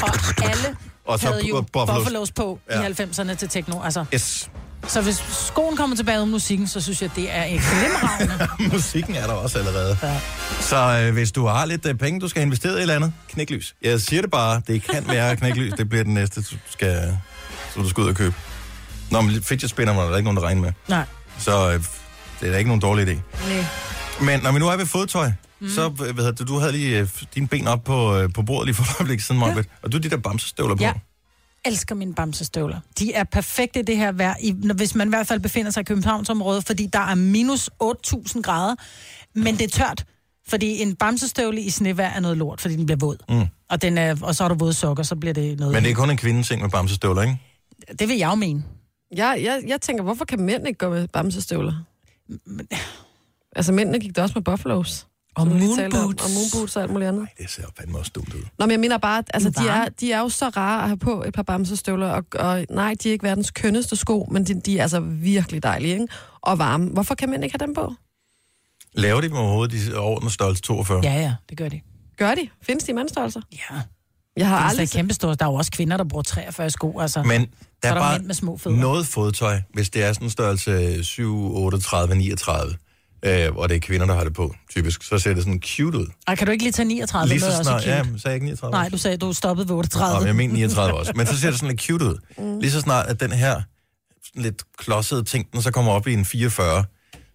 Og alle
Og
og
så
så havde jo
Buffalos.
buffalos, buffalos på
Ja.
ja. i 90'erne til techno. Altså.
yes,
Så hvis skoen kommer tilbage uden musikken, så synes jeg, det er et glimrende.
musikken er der også allerede. Ja. Så øh, hvis du har lidt øh, penge, du skal have investeret i et eller andet, knæklys. Jeg siger det bare, det kan være knæklys, det bliver den næste, du skal, som du skal ud og købe. Nå, men fidget spinner var der ikke nogen, der regner med.
Nej.
Så øh, det er da ikke nogen dårlig idé.
Næh.
Men når vi nu er ved fodtøj, mm. så øh, hvad hedder det, du havde lige øh, dine ben op på, øh, på bordet lige for et øjeblik siden, Marvitt, og du har de der bamsestøvler på.
Jeg elsker mine bamsestøvler. De er perfekte i det her vejr, i, når- hvis man i hvert fald befinder sig i Københavnsområdet, fordi der er minus 8.000 grader, men det er tørt. Fordi en bamsestøvle i snevejr er noget lort, fordi den bliver våd.
Mm.
Og, den er, og så har du våde sokker, så bliver det noget...
Men det er kun en kvindes ting med bamsestøvler, ikke?
Det vil jeg jo mene.
Jeg, jeg, jeg tænker, hvorfor kan mænd ikke gå med bamsestøvler? Altså, mændene gik da også med buffalos.
Og
som vi lige
moon
talte om,
boots.
Og moonboots og alt muligt andet.
Det ser fandme også dumt ud.
Nå, men jeg mener bare, at altså, de,
Varme.
er, de er jo så rare at have på et par bamsestøvler, og, og nej, de er ikke verdens kønneste sko, men de, de er altså virkelig dejlige, ikke? Og varme. Hvorfor kan mænd ikke have dem på?
Laver de dem overhovedet i over den størrelse 42?
Ja, ja, det gør de.
Gør de? Findes de i mandstørrelser?
Ja.
Jeg har
Det er
aldrig...
altså kæmpe store. Der er jo også kvinder, der bruger 43 sko. Altså.
Men der,
så er der
bare
mænd med små fødder.
noget fodtøj, hvis det er sådan en størrelse 7, 38, 39, øh, og det er kvinder, der har det på, typisk, så ser det sådan cute ud.
Ej, kan du ikke lige tage 39?
Lige
Den
så
er også
snart,
cute.
ja, sagde jeg ikke 39?
Nej, du sagde, du stoppede ved
Nå,
38.
men jeg mener 39 også. Men så ser det sådan lidt cute ud. Mm. Lige så snart, at den her sådan lidt klodsede ting, den så kommer op i en 44,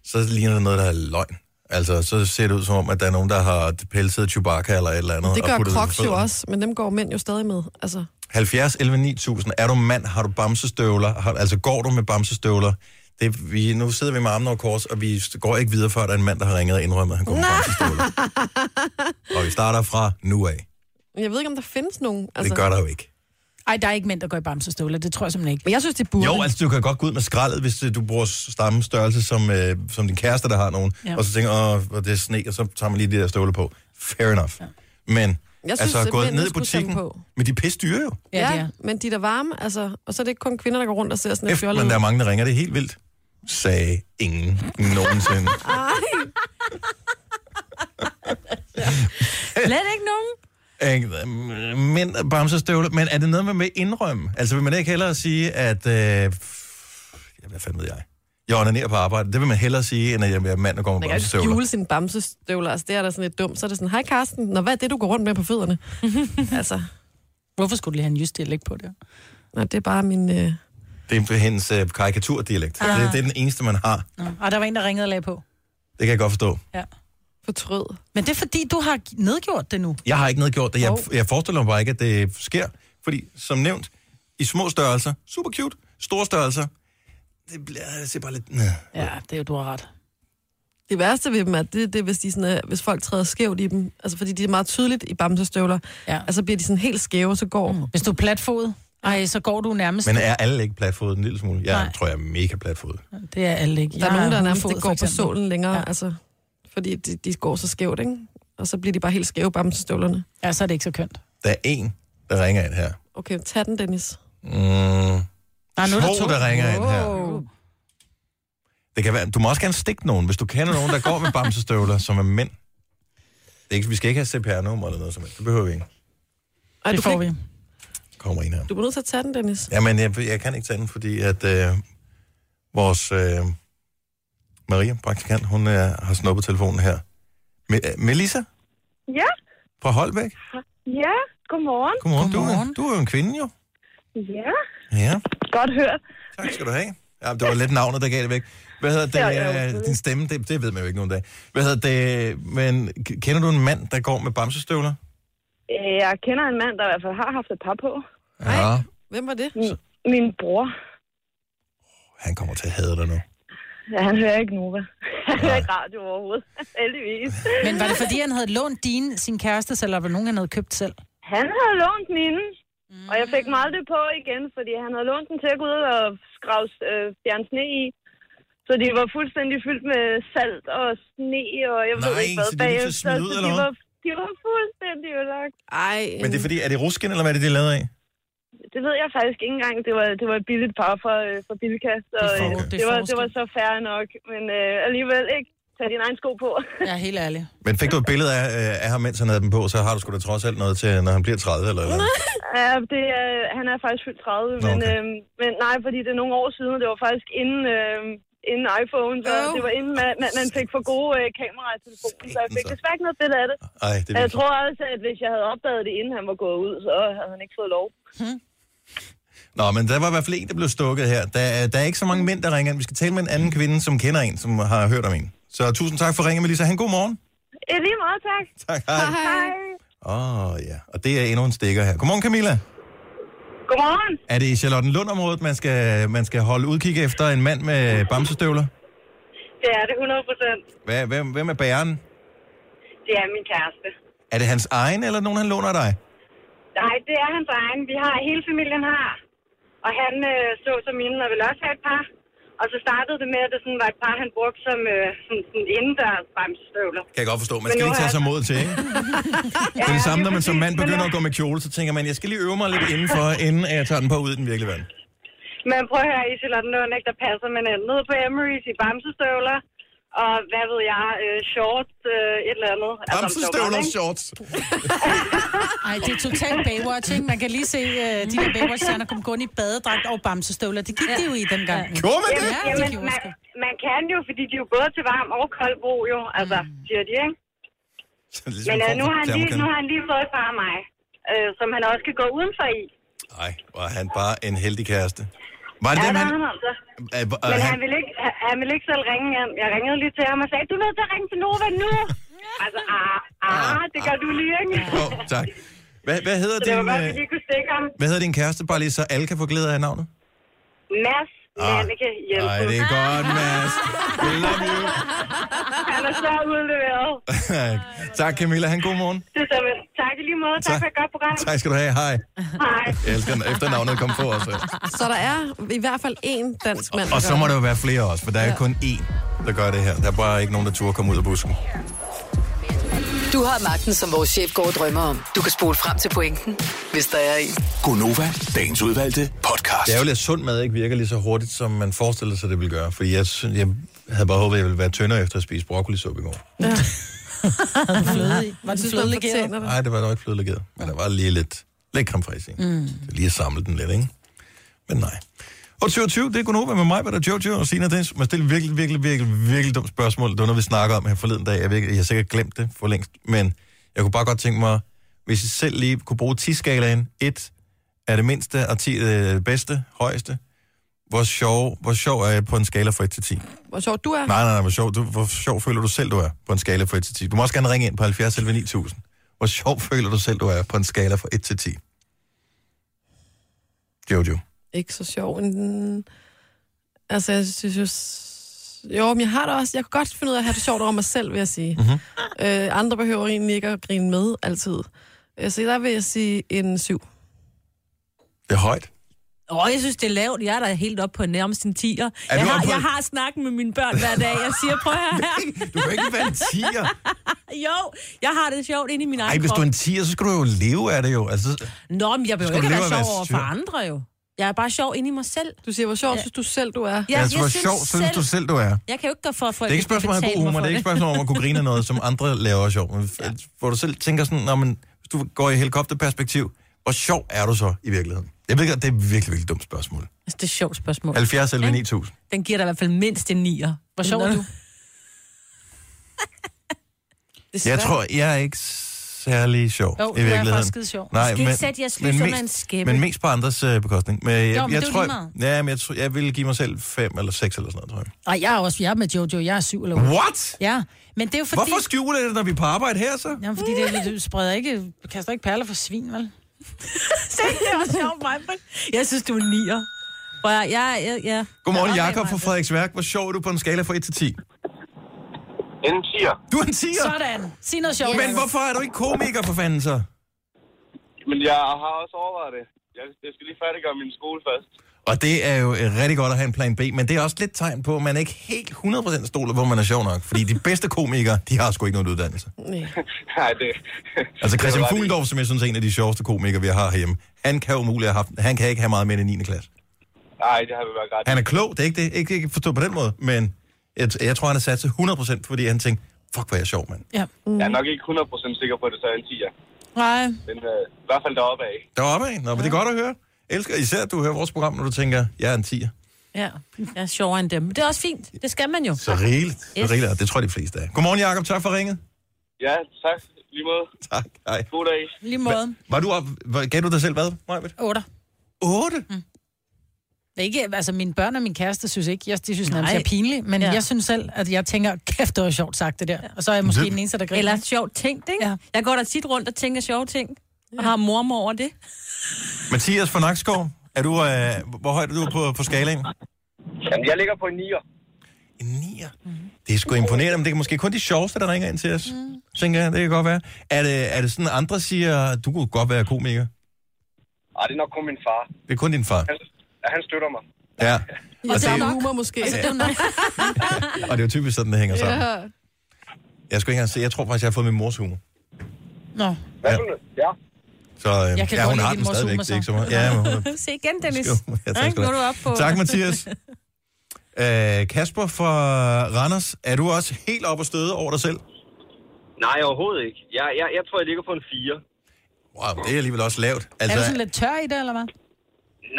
så ligner det noget, der er løgn. Altså, så ser det ud som om, at der er nogen, der har pelset Chewbacca eller et eller andet.
Det
og
gør
puttet i
Crocs jo
fødderne.
også, men dem går mænd jo stadig med. Altså,
70 11 9000. Er du mand? Har du bamsestøvler? Har, altså, går du med bamsestøvler? Det, vi, nu sidder vi med armene over kors, og vi går ikke videre, før der er en mand, der har ringet og indrømmet, at han går med bamsestøvler. og vi starter fra nu af.
jeg ved ikke, om der findes nogen. Altså,
Det gør der jo ikke.
Ej, der er ikke mænd, der går i bamsestøvler. Det tror jeg simpelthen ikke.
Men jeg synes, det burde.
Jo, altså du kan godt gå ud med skraldet, hvis øh, du bruger samme størrelse som, øh, som din kæreste, der har nogen.
Ja.
Ja. Og så tænker, åh, hvor det er sne, og så tager man lige de der støvler på. Fair enough. Ja. Men
Jeg synes,
altså,
at
at gå
mændene
ned i
skulle tage dem
butikken,
på.
men de er pisse dyre jo.
Ja, ja men de er da varme, altså, og så er det ikke kun kvinder, der går rundt og ser sådan et
F,
fjollet.
men der er mange, der ringer. Det er helt vildt. Sagde ingen nogensinde.
Let ikke nogen.
Ikke? Men bamsestøvler, men er det noget, man vil indrømme? Altså vil man ikke hellere sige, at... Øh, ja, hvad fanden ved jeg? Jeg onanerer på arbejde. Det vil man hellere sige, end at jeg er mand, der går med
Man kan jo ikke
bamsestøvler.
skjule sine bamsestøvler, altså det er da sådan lidt dumt. Så er det sådan, hej Karsten, nå hvad er det, du går rundt med på fødderne? altså,
Hvorfor skulle du lige have en jysk dialekt på det?
nå, det er bare min... Øh...
Det er hendes øh, karikaturdialekt.
Ah.
Det, det er den eneste, man har.
Nå. Og der var en, der ringede og lagde på.
Det kan jeg godt forstå.
Ja.
Fortrød.
Men det er fordi, du har nedgjort det nu.
Jeg har ikke nedgjort det. Jeg, jeg forestiller mig bare ikke, at det sker. Fordi, som nævnt, i små størrelser, super cute. Store størrelser, det bliver det ser bare lidt... Næh.
Ja, det er jo, du har ret.
Det værste ved dem er, det, det er, hvis, de sådan, er, hvis folk træder skævt i dem. Altså, fordi de er meget tydeligt i bamsestøvler.
Ja.
Altså, bliver de sådan helt skæve, så går... Mm.
Hvis du er platfod, ej, så går du nærmest...
Men er alle ikke platfodet en lille smule? Jeg
Nej.
tror, jeg er mega platfodet.
Det er alle ikke.
Der er
Jeg
nogen, der nærmest
hundefod,
ikke går
for
på
eksempel.
solen længere, ja. altså, fordi de, de går så skævt, ikke? Og så bliver de bare helt skæve bamsestøvlerne.
Ja, så er det ikke så kønt.
Der er en, der ringer ind her.
Okay, tag den, Dennis.
Mm.
Der er nu,
to, der ringer ind her. Det kan være, du må også gerne stikke nogen, hvis du kender nogen, der går med bamsestøvler, som er mænd. Det er ikke, vi skal ikke have CPR-nummer eller noget som helst. Det behøver vi ikke.
Ej, du,
Det
kan
får
ikke,
vi.
Kommer en her.
du bliver nødt til at tage den, Dennis.
Jamen, jeg, jeg kan ikke tage den, fordi at øh, vores øh, Maria, praktikant, hun er, har snuppet telefonen her. Me- øh, Melissa
Ja,
fra Holbæk.
ja. Godmorgen.
Godmorgen. Godmorgen. Du, er, du er jo en kvinde, jo.
Ja,
Ja.
godt hørt.
Tak skal du have. Ja, det var lidt navnet, der gav det væk. Hvad hedder det? øh,
Ja,
din stemme, det, det ved man jo ikke nogen dag. Hvad hedder det? Men k- kender du en mand, der går med bamsestøvler?
Øh, Jeg kender en mand, der i hvert fald har haft et par på.
Ja.
Hvem var det?
Min, min bror.
Han kommer til at hade dig
Øh.
nu.
Ja, han hører ikke Nova. Han hører ikke radio overhovedet. Heldigvis.
Men var det fordi, han havde lånt din, sin kæreste, eller var det nogen, han havde købt selv?
Han havde lånt den inden. Mm. Og jeg fik mig aldrig på igen, fordi han havde lånt den til at gå ud og skrave øh, fjerne sne i. Så de var fuldstændig fyldt med salt og sne, og jeg ved
Nej,
ikke hvad
så de er nødt til at smide ud,
så
eller
de
hvad?
var, de var fuldstændig ødelagt.
Ej.
Men det er fordi, er det rusken, eller hvad er det, det er lavet af?
Det ved jeg faktisk ikke engang. Det var, det var et billigt par fra, øh, fra Bilkast, og
Det
øh,
er for- okay.
det, var, det var så færre nok. Men øh, alligevel ikke. Tag dine egne sko på.
Ja, helt ærligt.
Men fik du et billede af, øh, af ham, mens han havde dem på, så har du sgu da trods alt noget til, når han bliver 30 eller eller. andet.
ja, det er, han er faktisk fyldt 30, men,
okay.
øh, men nej, fordi det er nogle år siden, og det var faktisk inden... Øh, inden iPhone, så
Øv.
det var inden man, man, man fik for gode øh, kameraer i telefonen, så jeg fik
så.
desværre ikke noget billede af det.
Ej, det er
Jeg
vildt.
tror også, at hvis jeg havde opdaget det, inden han var gået ud, så havde han ikke fået lov.
Hmm. Nå, men der var i hvert fald en, der blev stukket her. Der, er- der er ikke så mange mænd, der ringer ind. Vi skal tale med en anden kvinde, som kender en, som har hørt om en. Så tusind tak for ringen, Melissa. Han god morgen.
Eh, Lige meget, tak.
Tak, hej.
Hej.
Åh, oh, ja. Og det er endnu en stikker her. Godmorgen, Camilla.
Godmorgen.
Er det i Charlottenlund-området, man skal, man skal holde udkig efter en mand med bamsestøvler?
Det er det 100 procent.
Hvad, hvem, hvem er bæren?
Det er min kæreste.
Er det hans egen, eller nogen, han låner af dig?
Nej, det er hans egen. Vi har, hele familien har. Og han øh, så som inden og ville også have et par. Og så startede det med, at det sådan var et par, han brugte som øh, sådan, sådan indendørs bremsestøvler.
Kan jeg godt forstå. Man
Men
skal
nu
lige
har
tage
jeg
sig mod til, ikke? Det er det samme, når man som mand begynder at gå med kjole, så tænker man, jeg skal lige øve mig lidt indenfor, inden jeg tager den på ud i den virkelige verden.
Men prøv at høre, i Charlottenlund, ikke, der passer man ind. ned på Emery's i bamsestøvler. Og hvad ved jeg, øh, shorts, øh, et eller andet. Altså, om sommeren,
Bamsestøvler og
ikke?
shorts.
Ej, det er totalt Baywatch, ikke? Man kan lige se, uh, de der Baywatch-stjerner kom gående i badedragt og bamsestøvler. Det gik ja. det jo i dengang.
Gjorde man det?
Ja, det
Jamen,
gjorde
man,
sgu.
man kan jo, fordi de er jo både til varm og kold brug, jo. Altså, siger de, ikke?
Så det er ligesom
Men
en
øh, nu,
form for
har han lige,
termokande.
nu har han lige fået et par af mig, øh, som han også kan gå udenfor i.
Ej, var han bare en heldig kæreste. Var det
Ja,
dem,
der
han...
er han altså.
Øh, øh,
Men han
han...
ville, ikke, han- han ville ikke selv ringe hjem. Jeg ringede lige til ham og sagde, du er nødt til at ringe til Nova nu. altså, ah, ah, det gør du lige, ikke?
Oh, tak. Hvad, hvad, hedder
Så det var
din,
godt,
øh,
vi lige kunne stikke ham.
hvad hedder din kæreste, bare lige så alle kan få glæde af navnet?
Mads
Ah.
Manneke hjælp.
Nej, det er godt, Mads. We love you.
Han er så udleveret.
tak, Camilla. Han god morgen.
Det er så, vel. tak i lige måde. Tak,
Tak.
for et godt program.
Tak skal du have. Hej.
Hej.
Jeg elsker, når efternavnet kom på også.
Så der er i hvert fald én dansk mand.
Og
der
så
gør
må
det.
der jo være flere også, for der er jo kun én, der gør det her. Der er bare ikke nogen, der turde komme ud af busken.
Du har magten, som vores chef går og drømmer om. Du kan spole frem til pointen, hvis der er en.
Gonova, dagens udvalgte podcast.
Det er jo lidt sundt mad, ikke virker lige så hurtigt, som man forestillede sig, det ville gøre. Fordi jeg, sy- jeg havde bare håbet, at jeg ville være tyndere efter at spise broccolisuppe i går.
Fløde i. Var
Jeg
det
synes, man
fløde legeret?
fortjener det.
Nej, det var nok ikke flødelegeret, men der var lige lidt, lidt creme fraiche, ikke? Mm. Lige at samle den lidt, ikke? Men nej. Og 22, det er Gunova med mig, hvad der Jojo og Sina Dennis. Man stiller virkelig, virkelig, virkelig, virkelig dumt spørgsmål. Det var noget, vi snakker om her forleden dag. Jeg, virkelig, jeg har sikkert glemt det for længst, men jeg kunne bare godt tænke mig, hvis I selv lige kunne bruge 10-skalaen. 1 er det mindste, og 10 er det bedste, højeste. Hvor sjov, hvor sjov er jeg på en skala fra 1 til 10?
Hvor sjovt du er.
Nej, nej, nej, hvor sjov, du, hvor sjov føler du selv, du er på en skala fra 1 til 10. Du må også gerne ringe ind på 70 11 9000. Hvor sjov føler du selv, du er på en skala fra 1 til 10? Jojo.
Ikke så sjov. En... Altså, jeg synes jo... s- Jo, men jeg har det også. Jeg kan godt finde ud af at have det sjovt over mig selv, vil jeg sige.
Mhm.
Øh, andre behøver egentlig ikke at grine med altid. Øh, Så der vil jeg sige en syv.
Det er højt.
Åh, jeg synes, det er lavt. Jeg er da helt op på nærmest en tiger.
Er
Jeg
du
har,
oppe på-
jeg har snakken med mine børn hver dag. Jeg siger, prøv at høre.
Du kan ikke være en tiger.
Jo, jeg har det sjovt inde i min
Ej,
egen
hvis du
krop.
er en tiger, så skal du jo leve af det jo. Altså,
Nå, men
Skal
jeg behøver
du
ikke at
leve af
være
at
sjov
være
over for
styr?
andre jo. Jeg er bare sjov inde i mig selv.
Du siger, hvor sjov synes du selv, du er?
Ja,
altså, hvor sjov synes du selv, du er? Det
Jeg kan jo ikke gøre for, at folk
er ikke et spørgsmål om at have god humor. Det er ikke et spørgsmål om at kunne grine af noget, som andre laver sjov. Men, f- Hvor du selv tænker sådan, Nå, men, hvis du går i helikopterperspektiv, hvor Hvor sjov er du så i virkeligheden? Jeg ved godt, det er et virkelig, virkelig dumt spørgsmål.
Altså, det er et sjovt spørgsmål.
70 eller 9000.
Den giver dig i hvert fald mindst en nier.
Hvor sjov er du?
Jeg tror, jeg er ikke særlig sjov
Jo,
i
du er
virkeligheden.
faktisk skide sjov.
Nej,
Du skal ikke sætte jeres lys under en skæppe.
Men mest på andres øh, bekostning. Men jeg,
Jo, men
jeg
det er jo
tror,
lige meget.
ja, men jeg, tror, jeg ville give mig selv 5 eller 6 eller sådan noget, tror jeg.
Nej, jeg er også jeg er med Jojo. Jeg er syv eller otte.
What?
Ja, men det er jo fordi...
Hvorfor skjuler jeg det, når vi er på arbejde her så?
Jamen, fordi det, du spreder ikke, du kaster ikke perler for svin, vel?
Se, det var sjovt, Majbrit. Jeg synes, du er en nier. Hvor jeg, jeg, jeg, jeg,
Godmorgen, Jakob fra Frederiksværk. Hvor sjov er du på en skala fra 1 til 10?
En tiger.
Du er en 10'er?
Sådan. Sig noget sjovt.
Men hvorfor er du ikke komiker for fanden så?
Men jeg har også overvejet det. Jeg, jeg skal lige færdiggøre min skole først.
Og det er jo øh, rigtig godt at have en plan B, men det er også lidt tegn på, at man ikke helt 100% stoler på, at man er sjov nok. Fordi de bedste komikere, de har sgu ikke nogen uddannelse.
Nej, det...
Altså Christian
Det var ret i.
Fuglendorf, som jeg synes er en af de sjoveste komikere, vi har herhjemme, han kan umuligt have haft, han kan ikke have meget mere end 9. klasse.
Nej, det har vi været ret. i.
Han er klog, det er ikke det, ikke, ikke forstå på den måde, men jeg, jeg tror, han har sat sig 100%, fordi han tænkte, fuck, hvor er jeg sjov, mand.
Ja.
Jeg er nok ikke 100% sikker på, at det så er en tiger.
Nej.
Men øh, i hvert fald deroppe af.
Der var af. Nå, men det er godt at høre. Elsker især, at du hører vores program, når du tænker, jeg er en 10'er.
Ja, jeg er sjovere end dem. Men det er også fint. Det skal man jo.
Så rigeligt. Så
Yes.
rigeligt. og Det tror jeg, de fleste er. Godmorgen, Jacob. Tak for ringet.
Ja, tak. Lige måde.
Tak. Hej.
God dag.
Lige måde.
Var du op, var- gav du dig selv hvad, Majbet?
Otter.
8? Mm.
Ikke, altså mine børn og min kæreste synes ikke, jeg, de synes nærmest,
Nej.
jeg er pinlig, men ja. jeg synes selv, at jeg tænker, kæft, det var sjovt sagt det der. Og så er jeg måske
Det-
den eneste, der griner.
Eller sjovt tænkt, ikke? Ja. Jeg går da tit rundt og tænker sjove ting. Og har mormor over det.
Mathias fra Nakskov, er du, øh, hvor højt er du på, på skalaen?
Jamen, jeg ligger på en nier.
En 9'er. Det er sgu imponerende, men det er måske kun de sjoveste, der ringer ind til os. Mm. Tænker jeg, det kan godt være. Er det, er det sådan, at andre siger, du kunne godt være komiker?
Ej, det er nok kun min far.
Det er kun din far.
Han, ja, han støtter mig.
Ja,
Og
Og
det
det er
er
jo-
humor måske.
Altså, det er jo nok.
og det er jo typisk sådan, det hænger sammen.
Ja.
Jeg skulle ikke engang se, jeg tror faktisk, jeg har fået min mors humor.
Nå.
Ja.
Hvad ja. ja.
Så øh,
Jeg kan
ja,
godt
hun
lide
har
din
den
mors
stadigvæk,
humor,
det er ikke
så.
så meget. Ja, men hun er
Se igen, Dennis.
Jo, ja, tak, skal
Ikke?
du
Nu er du
have.
oppe på-
tak Mathias. Øh, Kasper fra Randers, er du også helt op og støde over dig selv?
Nej, overhovedet ikke. Jeg, jeg, jeg tror, jeg ligger på en 4.
Wow, det er alligevel også lavt.
Er
Altså,
du sådan lidt tør i det, eller hvad?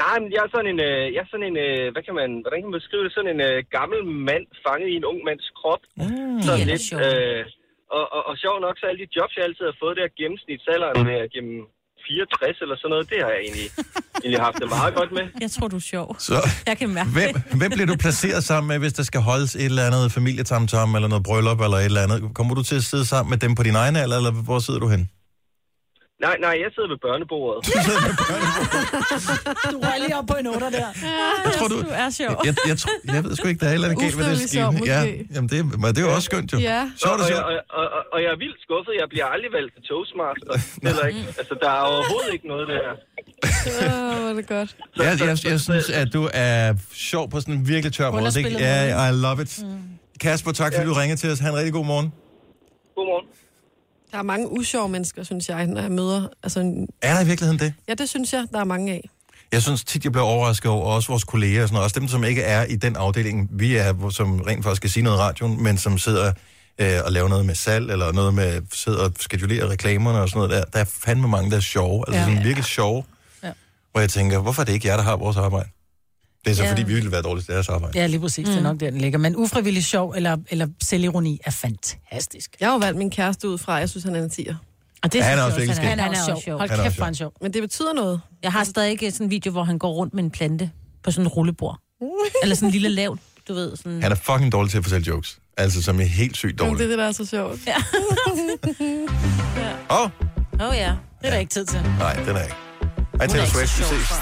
Nej, men jeg er sådan en, øh, jeg er sådan en øh, hvad kan man, hvordan kan man beskrive det? Sådan en øh, gammel mand fanget i en ung mands krop. Mm.
Det er
Sådan
da
lidt,
sjovt.
øh, og, og, og sjov nok, så alle de jobs, jeg altid har fået der gennemsnitsalderen med at gennem 64 eller sådan noget, det har jeg egentlig, egentlig haft det meget godt med.
Jeg tror, du er sjov.
så,
Jeg kan mærke det.
hvem, hvem bliver du placeret sammen med, hvis der skal holdes et eller andet familietamtam, eller noget bryllup, eller et eller andet? Kommer du til at sidde sammen med dem på din egen alder, eller hvor sidder du hen?
Nej, nej, jeg sidder ved børnebordet.
Du røg lige op på en otter der.
Jeg tror, du,
Du er sjov.
jeg, jeg, tror, jeg ved sgu ikke, der er et eller andet galt med det
Ufrivillig sjov,
skib.
måske.
Ja, jamen det, men det er jo også skønt, jo.
Ja.
Så er
og,
det
jeg,
sjovt.
og, og, og, og jeg er vildt skuffet. Jeg bliver aldrig valgt til Toastmaster. Heller ikke. Altså, der er overhovedet ikke noget der.
Åh, hvor er det godt.
Jeg, jeg, jeg synes, at du er sjov på sådan en virkelig tør måde. Det,
Underspillet
ja, I love it.
Mm.
Kasper, tak fordi du ringede til os. Ha' en rigtig god morgen.
Godmorgen.
Der er mange usjove mennesker, synes jeg, når jeg møder. Altså, en-
Er der i virkeligheden det?
ja, det synes jeg, der er mange af.
Jeg synes tit, jeg bliver overrasket over, og også vores kolleger og sådan noget, også dem, som ikke er i den afdeling, vi er, som rent faktisk skal sige noget i radioen, men som sidder øh, og laver noget med salg, eller noget med, sidder og schedulerer reklamerne og sådan noget der. Der er fandme mange, der er sjove, altså
Ja.
ja. sådan virkelig sjove,
Ja.
ja. hvor jeg tænker, hvorfor er det ikke jer, der har vores arbejde? Det er så,
Ja.
ja. fordi vi ville være dårlige til deres arbejde.
Ja, lige præcis. Mm. Det er nok der, den ligger. Men ufrivillig sjov eller, eller selvironi er fantastisk.
Jeg har jo valgt min kæreste ud fra, at jeg synes, han er en tiger.
Og det
Han er
synes jeg
også virkelig skæg.
Han er, også sjov. Hold
Han er
kæft,
også
hvor er han sjov.
Men det betyder noget.
Jeg har stadig ikke sådan en video, hvor han går rundt med en plante på sådan en rullebord. Eller sådan en lille lav, du ved. Sådan.
Han er fucking dårlig til at fortælle jokes. Altså, som er helt sygt
Jamen, det
dårlig.
er det, der er så sjovt.
Åh, oh,
Åh oh, ja.
Det er der ikke tid til.
nej, den er ikke. Ej, Taylor
ikke så
Swift, vi
sjov,
ses.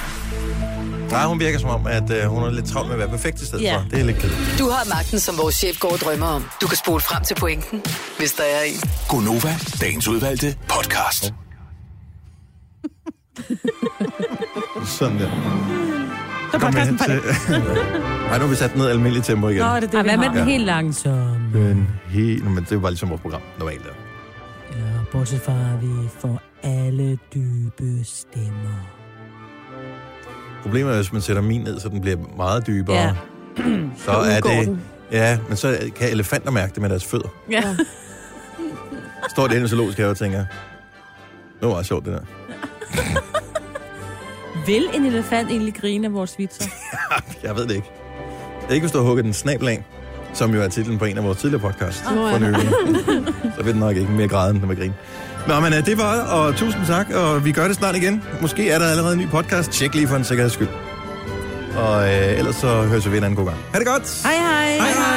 Nej, hun virker som om, at øh, hun er lidt travlt med at være perfekt i stedet
Ja.
yeah. for. Det er lidt kedeligt.
Du har magten, som vores chef går og drømmer om. Du kan spole frem til pointen, hvis der er en.
Gonova, dagens udvalgte podcast.
Sådan der. Så kom hen til... Nej, nu har vi sat ned i almindeligt tempo igen.
Nå, er det det,
Og
vi
hvad med
har?
den helt langsomme?
Men helt... Men det var ligesom vores program normalt. Der.
Ja, bortset fra, at vi får alle dybe stemmer.
Problemet er, hvis man sætter min ned, så den bliver meget dybere.
Ja.
Så er
udgår
det...
den.
Ja, men så kan elefanter mærke det med deres fødder.
Ja.
Står det inde i zoologisk have og tænker, nu var det sjovt, det der.
Vil en elefant egentlig grine af vores vitser?
Jeg ved det ikke. Ikke hvis du har hugget den snabel af, som jo er titlen på en af vores tidligere podcast.
Nå, ja.
for nylig. Så vil den nok ikke mere græde, end den vil grine. Nå, men øh, det var det, og tusind tak, og vi gør det snart igen. Måske er der allerede en ny podcast. Tjek lige for en sikkerheds skyld. Og øh, ellers så høres vi ved en anden god gang. Ha' det godt!
Hej hej!
Hej, hej.